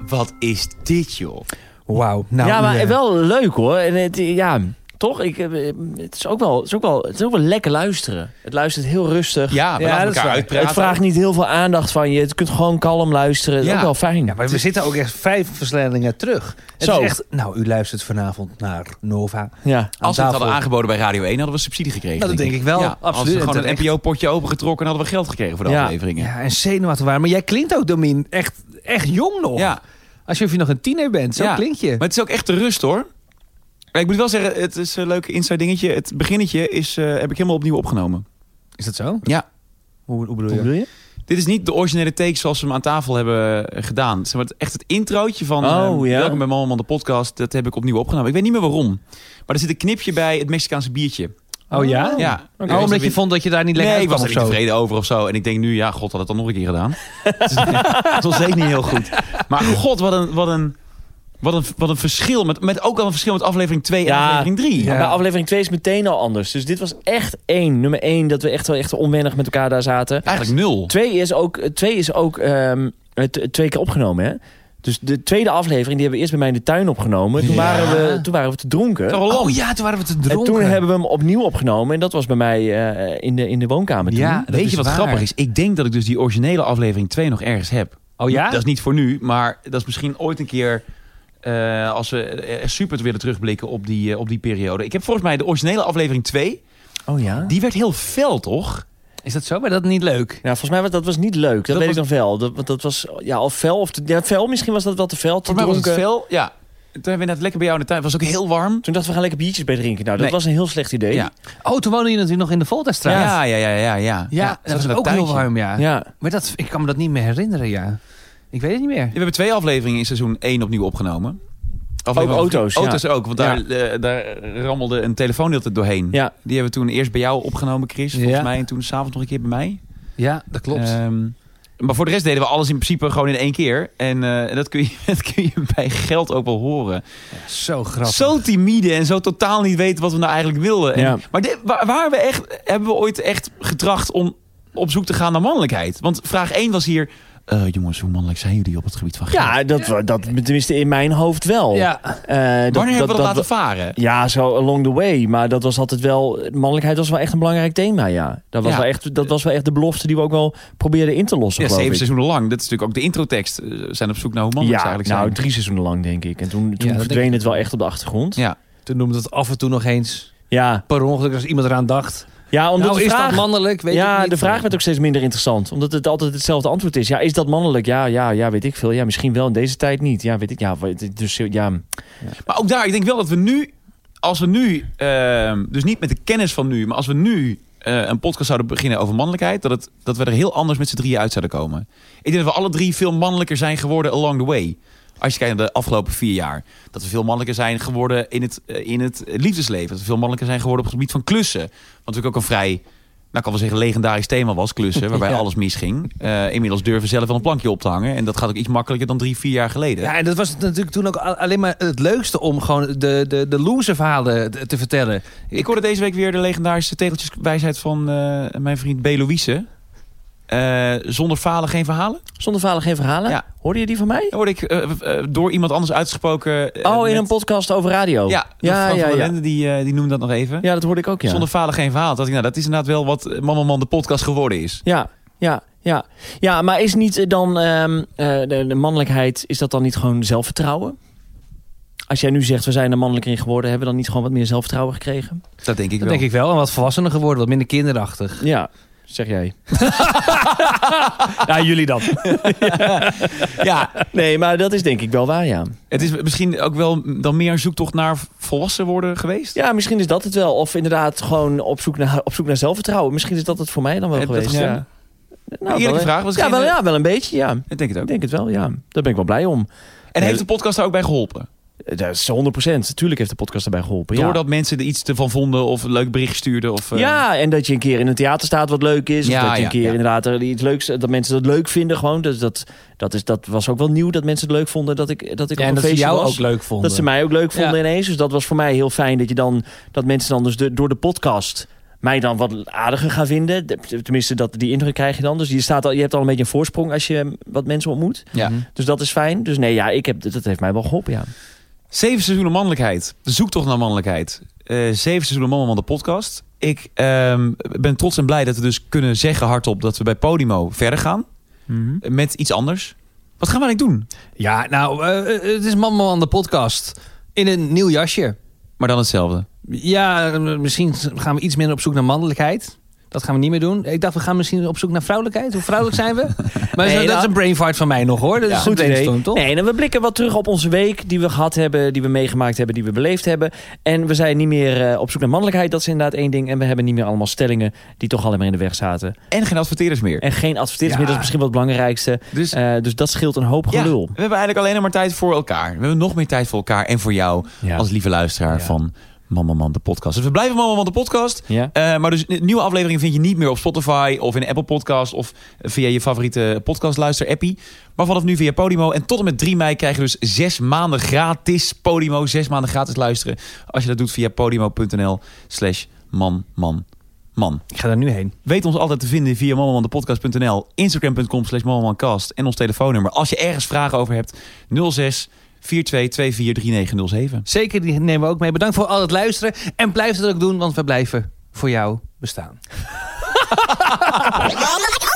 S5: Wat is dit, joh?
S3: Wauw. Nou,
S4: ja, maar
S3: eh,
S4: wel leuk hoor. En het, ja, toch? Ik, eh, het, is ook wel, het, is ook wel, het is ook wel lekker luisteren. Het luistert heel rustig.
S2: Ja, we
S3: Ja,
S2: laten
S3: dat is
S2: elkaar
S3: waar.
S2: uitpraten.
S4: het vraagt niet heel veel aandacht van je. Het kunt gewoon kalm luisteren. Dat is
S3: Ja.
S4: ook wel fijn.
S3: Ja, nou, maar we zitten ook echt vijf versnellingen terug. Het
S4: Zo.
S3: is echt, nou, u luistert vanavond naar Nova.
S4: Ja.
S2: Als we het hadden
S3: tafel.
S2: aangeboden bij Radio 1, hadden we subsidie gekregen.
S3: Nou, dat denk ik wel.
S2: Ja,
S3: Absoluut.
S2: Als we
S3: En
S2: gewoon een
S3: terecht.
S2: NPO-potje opengetrokken, hadden we geld gekregen voor de
S4: Ja.
S2: afleveringen.
S3: Ja, en zenuwachtig waren. Maar jij klinkt ook, Domin, echt, echt jong nog.
S2: Ja.
S3: Alsof je nog een tiener bent. Zo
S2: Ja.
S3: klink je.
S2: Maar het is ook echt de rust hoor. Ja, Ik moet wel zeggen, het is een leuk inside dingetje. Het beginnetje is, eh, heb ik helemaal opnieuw opgenomen.
S3: Is dat zo?
S2: Ja.
S3: Hoe, hoe bedoel
S4: Hoe
S3: je?
S4: bedoel je?
S2: Dit is niet de originele take zoals we hem aan tafel hebben eh, gedaan. Zeg maar, het- echt het introotje van
S4: Oh,
S2: eh,
S4: ja.
S2: Welkom bij Malman de podcast. Dat heb ik opnieuw opgenomen. Ik weet niet meer waarom. Maar er zit een knipje bij het Mexicaanse biertje.
S3: Oh ja?
S2: ja.
S3: Oh, omdat je vond dat je daar niet lekker
S2: Nee, ik
S3: uitkwam
S2: was er niet
S3: of zo.
S2: tevreden over of zo. En ik denk nu, ja, god, had het dan nog een keer gedaan. Het was zeker niet heel goed. Maar god, wat een, wat een, wat een, wat een verschil. Met, met ook al een verschil met aflevering 2 en
S4: Ja.
S2: aflevering 3.
S3: Ja.
S4: Maar bij aflevering 2 is het meteen al anders. Dus dit was echt één. Nummer één, dat we echt wel echt onwennig met elkaar daar zaten.
S2: Eigenlijk nul.
S4: Twee is ook, twee is ook ehm, het- twee keer opgenomen, hè? Dus de tweede aflevering, die hebben we eerst bij mij in de tuin opgenomen.
S3: Ja.
S4: Toen, waren, we, toen waren we te dronken.
S2: Zo lang.
S3: Oh ja, toen waren we te dronken.
S4: En toen hebben we hem opnieuw opgenomen. En dat was bij mij eh, in, de, in de woonkamer toen.
S3: Ja. dat
S2: Weet
S3: is
S2: je wat
S3: waar.
S2: grappig is? Ik denk dat ik dus die originele aflevering 2 nog ergens heb.
S3: Oh ja?
S2: Dat is niet voor nu, maar dat is misschien ooit een keer... eh, als we eh, super willen terugblikken op die, eh, op die periode. Ik heb volgens mij de originele aflevering 2.
S4: Oh ja?
S2: Die werd heel fel, toch?
S3: Is dat zo? Maar dat is niet leuk.
S4: Ja, volgens mij was dat was niet leuk. Dat,
S2: Dat
S4: weet
S2: was-
S4: ik nog wel. Dat, want dat was ja, al fel. Of te, ja, fel misschien was dat wel te fel. Te
S2: Voor mij was het
S4: dronken.
S2: fel, ja. Toen hebben we net lekker bij jou in de tuin. Het was ook heel warm.
S4: Toen dachten we we gaan lekker biertjes bij drinken. Nou, dat
S2: Nee.
S4: was een heel slecht idee.
S2: Ja.
S3: Oh, toen woonde je natuurlijk nog in de Voltastraat.
S2: Ja, ja, ja, ja. Ja,
S3: Ja,
S2: het
S3: dat
S2: in
S3: was ook heel
S2: tuintje.
S3: warm, ja.
S4: Ja.
S3: Maar dat, ik kan me dat niet meer herinneren, ja. Ik weet het niet meer.
S2: We hebben twee afleveringen in seizoen 1 opnieuw opgenomen. Aflevering
S4: Ook auto's, ja.
S2: Auto's ook, want daar, eh, daar rammelde een telefoon de hele tijd doorheen.
S4: Ja.
S2: Die hebben we toen eerst bij jou opgenomen, Chris, volgens
S3: Ja.
S2: mij. En toen s'avonds nog een keer bij mij.
S3: Ja, dat klopt.
S2: Ehm, maar voor de rest deden we alles in principe gewoon in één keer. En eh, dat, kun je, dat kun je bij geld ook wel horen.
S3: zo grappig.
S2: Zo timide en zo totaal niet weten wat we nou eigenlijk wilden. En-
S4: Ja.
S2: Maar dit, waar, waar we echt, hebben we ooit echt getracht om op zoek te gaan naar mannelijkheid? Want vraag 1 was hier... eh, jongens, hoe mannelijk zijn jullie op het gebied van geld?
S4: Ja, dat, wa- dat tenminste in mijn hoofd wel.
S3: Ja.
S4: Eh, dat,
S2: Wanneer
S4: dat,
S2: hebben we dat,
S4: dat-
S2: laten varen?
S4: Ja, zo along the way. Maar dat was altijd wel. Mannelijkheid was wel echt een belangrijk thema, ja. Dat was,
S2: Ja.
S4: Wel, echt, dat was wel echt de belofte die we ook wel probeerden in te lossen.
S2: Ja,
S4: geloof
S2: zeven
S4: ik.
S2: seizoenen lang. Dat is natuurlijk ook de introtekst. Eh, We zijn op zoek naar hoe
S4: Ja,
S2: mannelijk ze eigenlijk
S4: nou,
S2: zijn.
S4: drie seizoenen lang, denk ik. En toen, toen
S3: dat denk
S4: verdween het wel echt op de achtergrond.
S2: Ja.
S3: Toen noemde het af en toe nog eens
S4: Ja,
S3: per ongeluk als iemand eraan dacht.
S4: ja omdat
S3: nou,
S4: de
S3: is
S4: vraag...
S3: dat mannelijk? Weet ik
S4: ja,
S3: niet.
S4: de vraag werd ook steeds minder interessant. Omdat het altijd hetzelfde antwoord is. Ja, is dat mannelijk? Ja, ja, ja, weet ik veel. Ja, misschien wel in deze tijd niet. Ja, weet ik. Ja, weet- dus ja.
S2: Maar ook daar, ik denk wel dat we nu, als we nu, ehm, dus niet met de kennis van nu, maar als we nu eh, een podcast zouden beginnen over mannelijkheid, dat, het, dat we er heel anders met z'n drieën uit zouden komen. Ik denk dat we alle drie veel mannelijker zijn geworden along the way. Als je kijkt naar de afgelopen vier jaar. Dat we veel mannelijker zijn geworden in het, eh, in het liefdesleven. Dat we veel mannelijker zijn geworden op het gebied van klussen. Wat natuurlijk ook een vrij, nou ik kan wel zeggen, legendarisch thema was, klussen. Waarbij
S3: Ja.
S2: alles misging. Eh, inmiddels durven we zelf wel een plankje op te hangen. En dat gaat ook iets makkelijker dan drie, vier jaar geleden.
S3: Ja, en dat was natuurlijk toen ook a- alleen maar het leukste om gewoon de, de, de loser verhalen te- te vertellen.
S2: Ik hoorde deze week weer de legendarische tegeltjeswijsheid van eh, mijn vriend B. Louise. Eh, zonder falen geen verhalen.
S4: Zonder falen geen verhalen.
S2: Ja.
S4: Hoorde je die van mij?
S2: Dat hoorde ik eh, eh, door iemand anders uitgesproken. eh,
S4: oh, in
S2: met-
S4: een podcast over radio.
S2: Ja,
S4: ja, ja,
S2: van der
S4: ja.
S2: Lende, die, eh, die noemde dat nog even.
S4: Ja, dat hoorde ik ook, ja.
S2: Zonder falen geen verhaal. Dat, ik, nou, dat is inderdaad wel wat Mama Man de podcast geworden is.
S4: Ja, ja, ja. Ja, maar is niet eh, dan ehm, eh, de, de mannelijkheid, is dat dan niet gewoon zelfvertrouwen? Als jij nu zegt, we zijn er mannelijker in geworden, hebben we dan niet gewoon wat meer zelfvertrouwen gekregen?
S2: Dat denk ik
S3: Dat
S2: wel.
S3: denk ik wel. En wat volwassener geworden, wat minder kinderachtig.
S4: Ja, zeg jij. ja, jullie dan.
S2: Ja,
S4: Nee, maar dat is denk ik wel waar, ja.
S2: het is misschien ook wel dan meer een zoektocht naar volwassen worden geweest.
S4: Ja, misschien is dat het wel. Of inderdaad gewoon op zoek naar, op zoek naar zelfvertrouwen. Misschien is dat het voor mij dan wel
S2: Eh, dat
S4: geweest.
S2: gestemd?
S4: ja. Nou,
S2: Eerlijke
S4: wel,
S2: vraag, eh, was
S4: Ja
S2: geen-
S4: wel, ja, wel een beetje, ja.
S2: Ik denk het
S4: Ik
S2: ook.
S4: denk het wel, ja. Daar ben ik wel blij om.
S2: En heeft de podcast daar ook bij geholpen?
S4: Eh, Dat is 100%. Tuurlijk heeft de podcast daarbij geholpen. ja.
S2: Doordat mensen er iets van vonden of een leuk bericht stuurden. Of, eh,
S4: Ja, en dat je een keer in een theater staat wat leuk is.
S2: Ja,
S4: of dat je
S2: ja,
S4: een keer
S2: ja.
S4: inderdaad er iets leuks... eh, Dat mensen dat leuk vinden gewoon. Dus dat, dat, is, dat was ook wel nieuw dat mensen het leuk vonden dat ik, dat ik op
S3: en
S4: een
S3: dat ze
S4: feestje
S3: jou
S4: was.
S3: ook leuk vonden.
S4: Dat ze mij ook leuk vonden
S3: Ja.
S4: ineens. Dus dat was voor mij heel fijn dat, je dan, dat mensen dan dus de- door de podcast mij dan wat aardiger gaan vinden. De- Tenminste, dat, die indruk krijg je dan. Dus je, staat al, je hebt al een beetje een voorsprong als je eh, wat mensen ontmoet.
S2: Ja.
S4: Dus dat is fijn. Dus nee, ja, ik heb, dat heeft mij wel geholpen, ja.
S2: Zeven seizoenen mannelijkheid. De zoektocht naar mannelijkheid. Eh, zeven seizoenen mannen de podcast. Ik ehm, ben trots en blij dat we dus kunnen zeggen hardop dat we bij Podimo verder gaan.
S4: Mhm.
S2: Eh, Met iets anders. Wat gaan we eigenlijk doen?
S3: Ja, nou, eh, eh, het is Man Man Man, de podcast. In een nieuw jasje.
S2: Maar dan hetzelfde.
S3: Ja, eh, misschien gaan we iets minder op zoek naar mannelijkheid. Dat gaan we niet meer doen. Ik dacht, we gaan misschien op zoek naar vrouwelijkheid. Hoe vrouwelijk zijn we? Maar
S4: Nee,
S3: dat,
S4: nou-
S3: is een brain fart van mij nog, hoor. Dat is een
S4: Goed idee.
S3: brainstorm, toch?
S4: Nee, en we blikken wat terug op onze week die we gehad hebben, die we meegemaakt hebben, die we beleefd hebben. En we zijn niet meer eh, op zoek naar mannelijkheid, dat is inderdaad één ding. En we hebben niet meer allemaal stellingen die toch alleen maar in de weg zaten.
S2: En geen adverteerders meer.
S4: En geen advertenties meer, dat is misschien wel het belangrijkste.
S2: Dus
S4: Eh, dus dat scheelt een hoop
S2: ja, we
S4: gelul.
S2: hebben eigenlijk alleen nog maar tijd voor elkaar. We hebben nog meer tijd voor elkaar en voor jou
S4: Ja.
S2: als lieve luisteraar van Mama Man de podcast. Dus we blijven Mama Man de podcast.
S4: Ja.
S2: Eh, maar dus n- nieuwe afleveringen vind je niet meer op Spotify of in Apple Podcast of via je favoriete podcastluister appie. Maar vanaf nu via Podimo. En tot en met 3 mei krijg je dus zes maanden gratis Podimo. Zes maanden gratis luisteren. Als je dat doet via podimo.nl slash man man man.
S3: Ik ga daar nu heen.
S2: Weet ons altijd te vinden via mamamandepodcast.nl, instagram.com slash mamamandcast en ons telefoonnummer. Als je ergens vragen over hebt, 06 42 24 3907.
S3: Zeker, die nemen we ook mee. Bedankt voor al het luisteren. En blijf dat ook doen, want we blijven voor jou bestaan.
S7: Oh my god!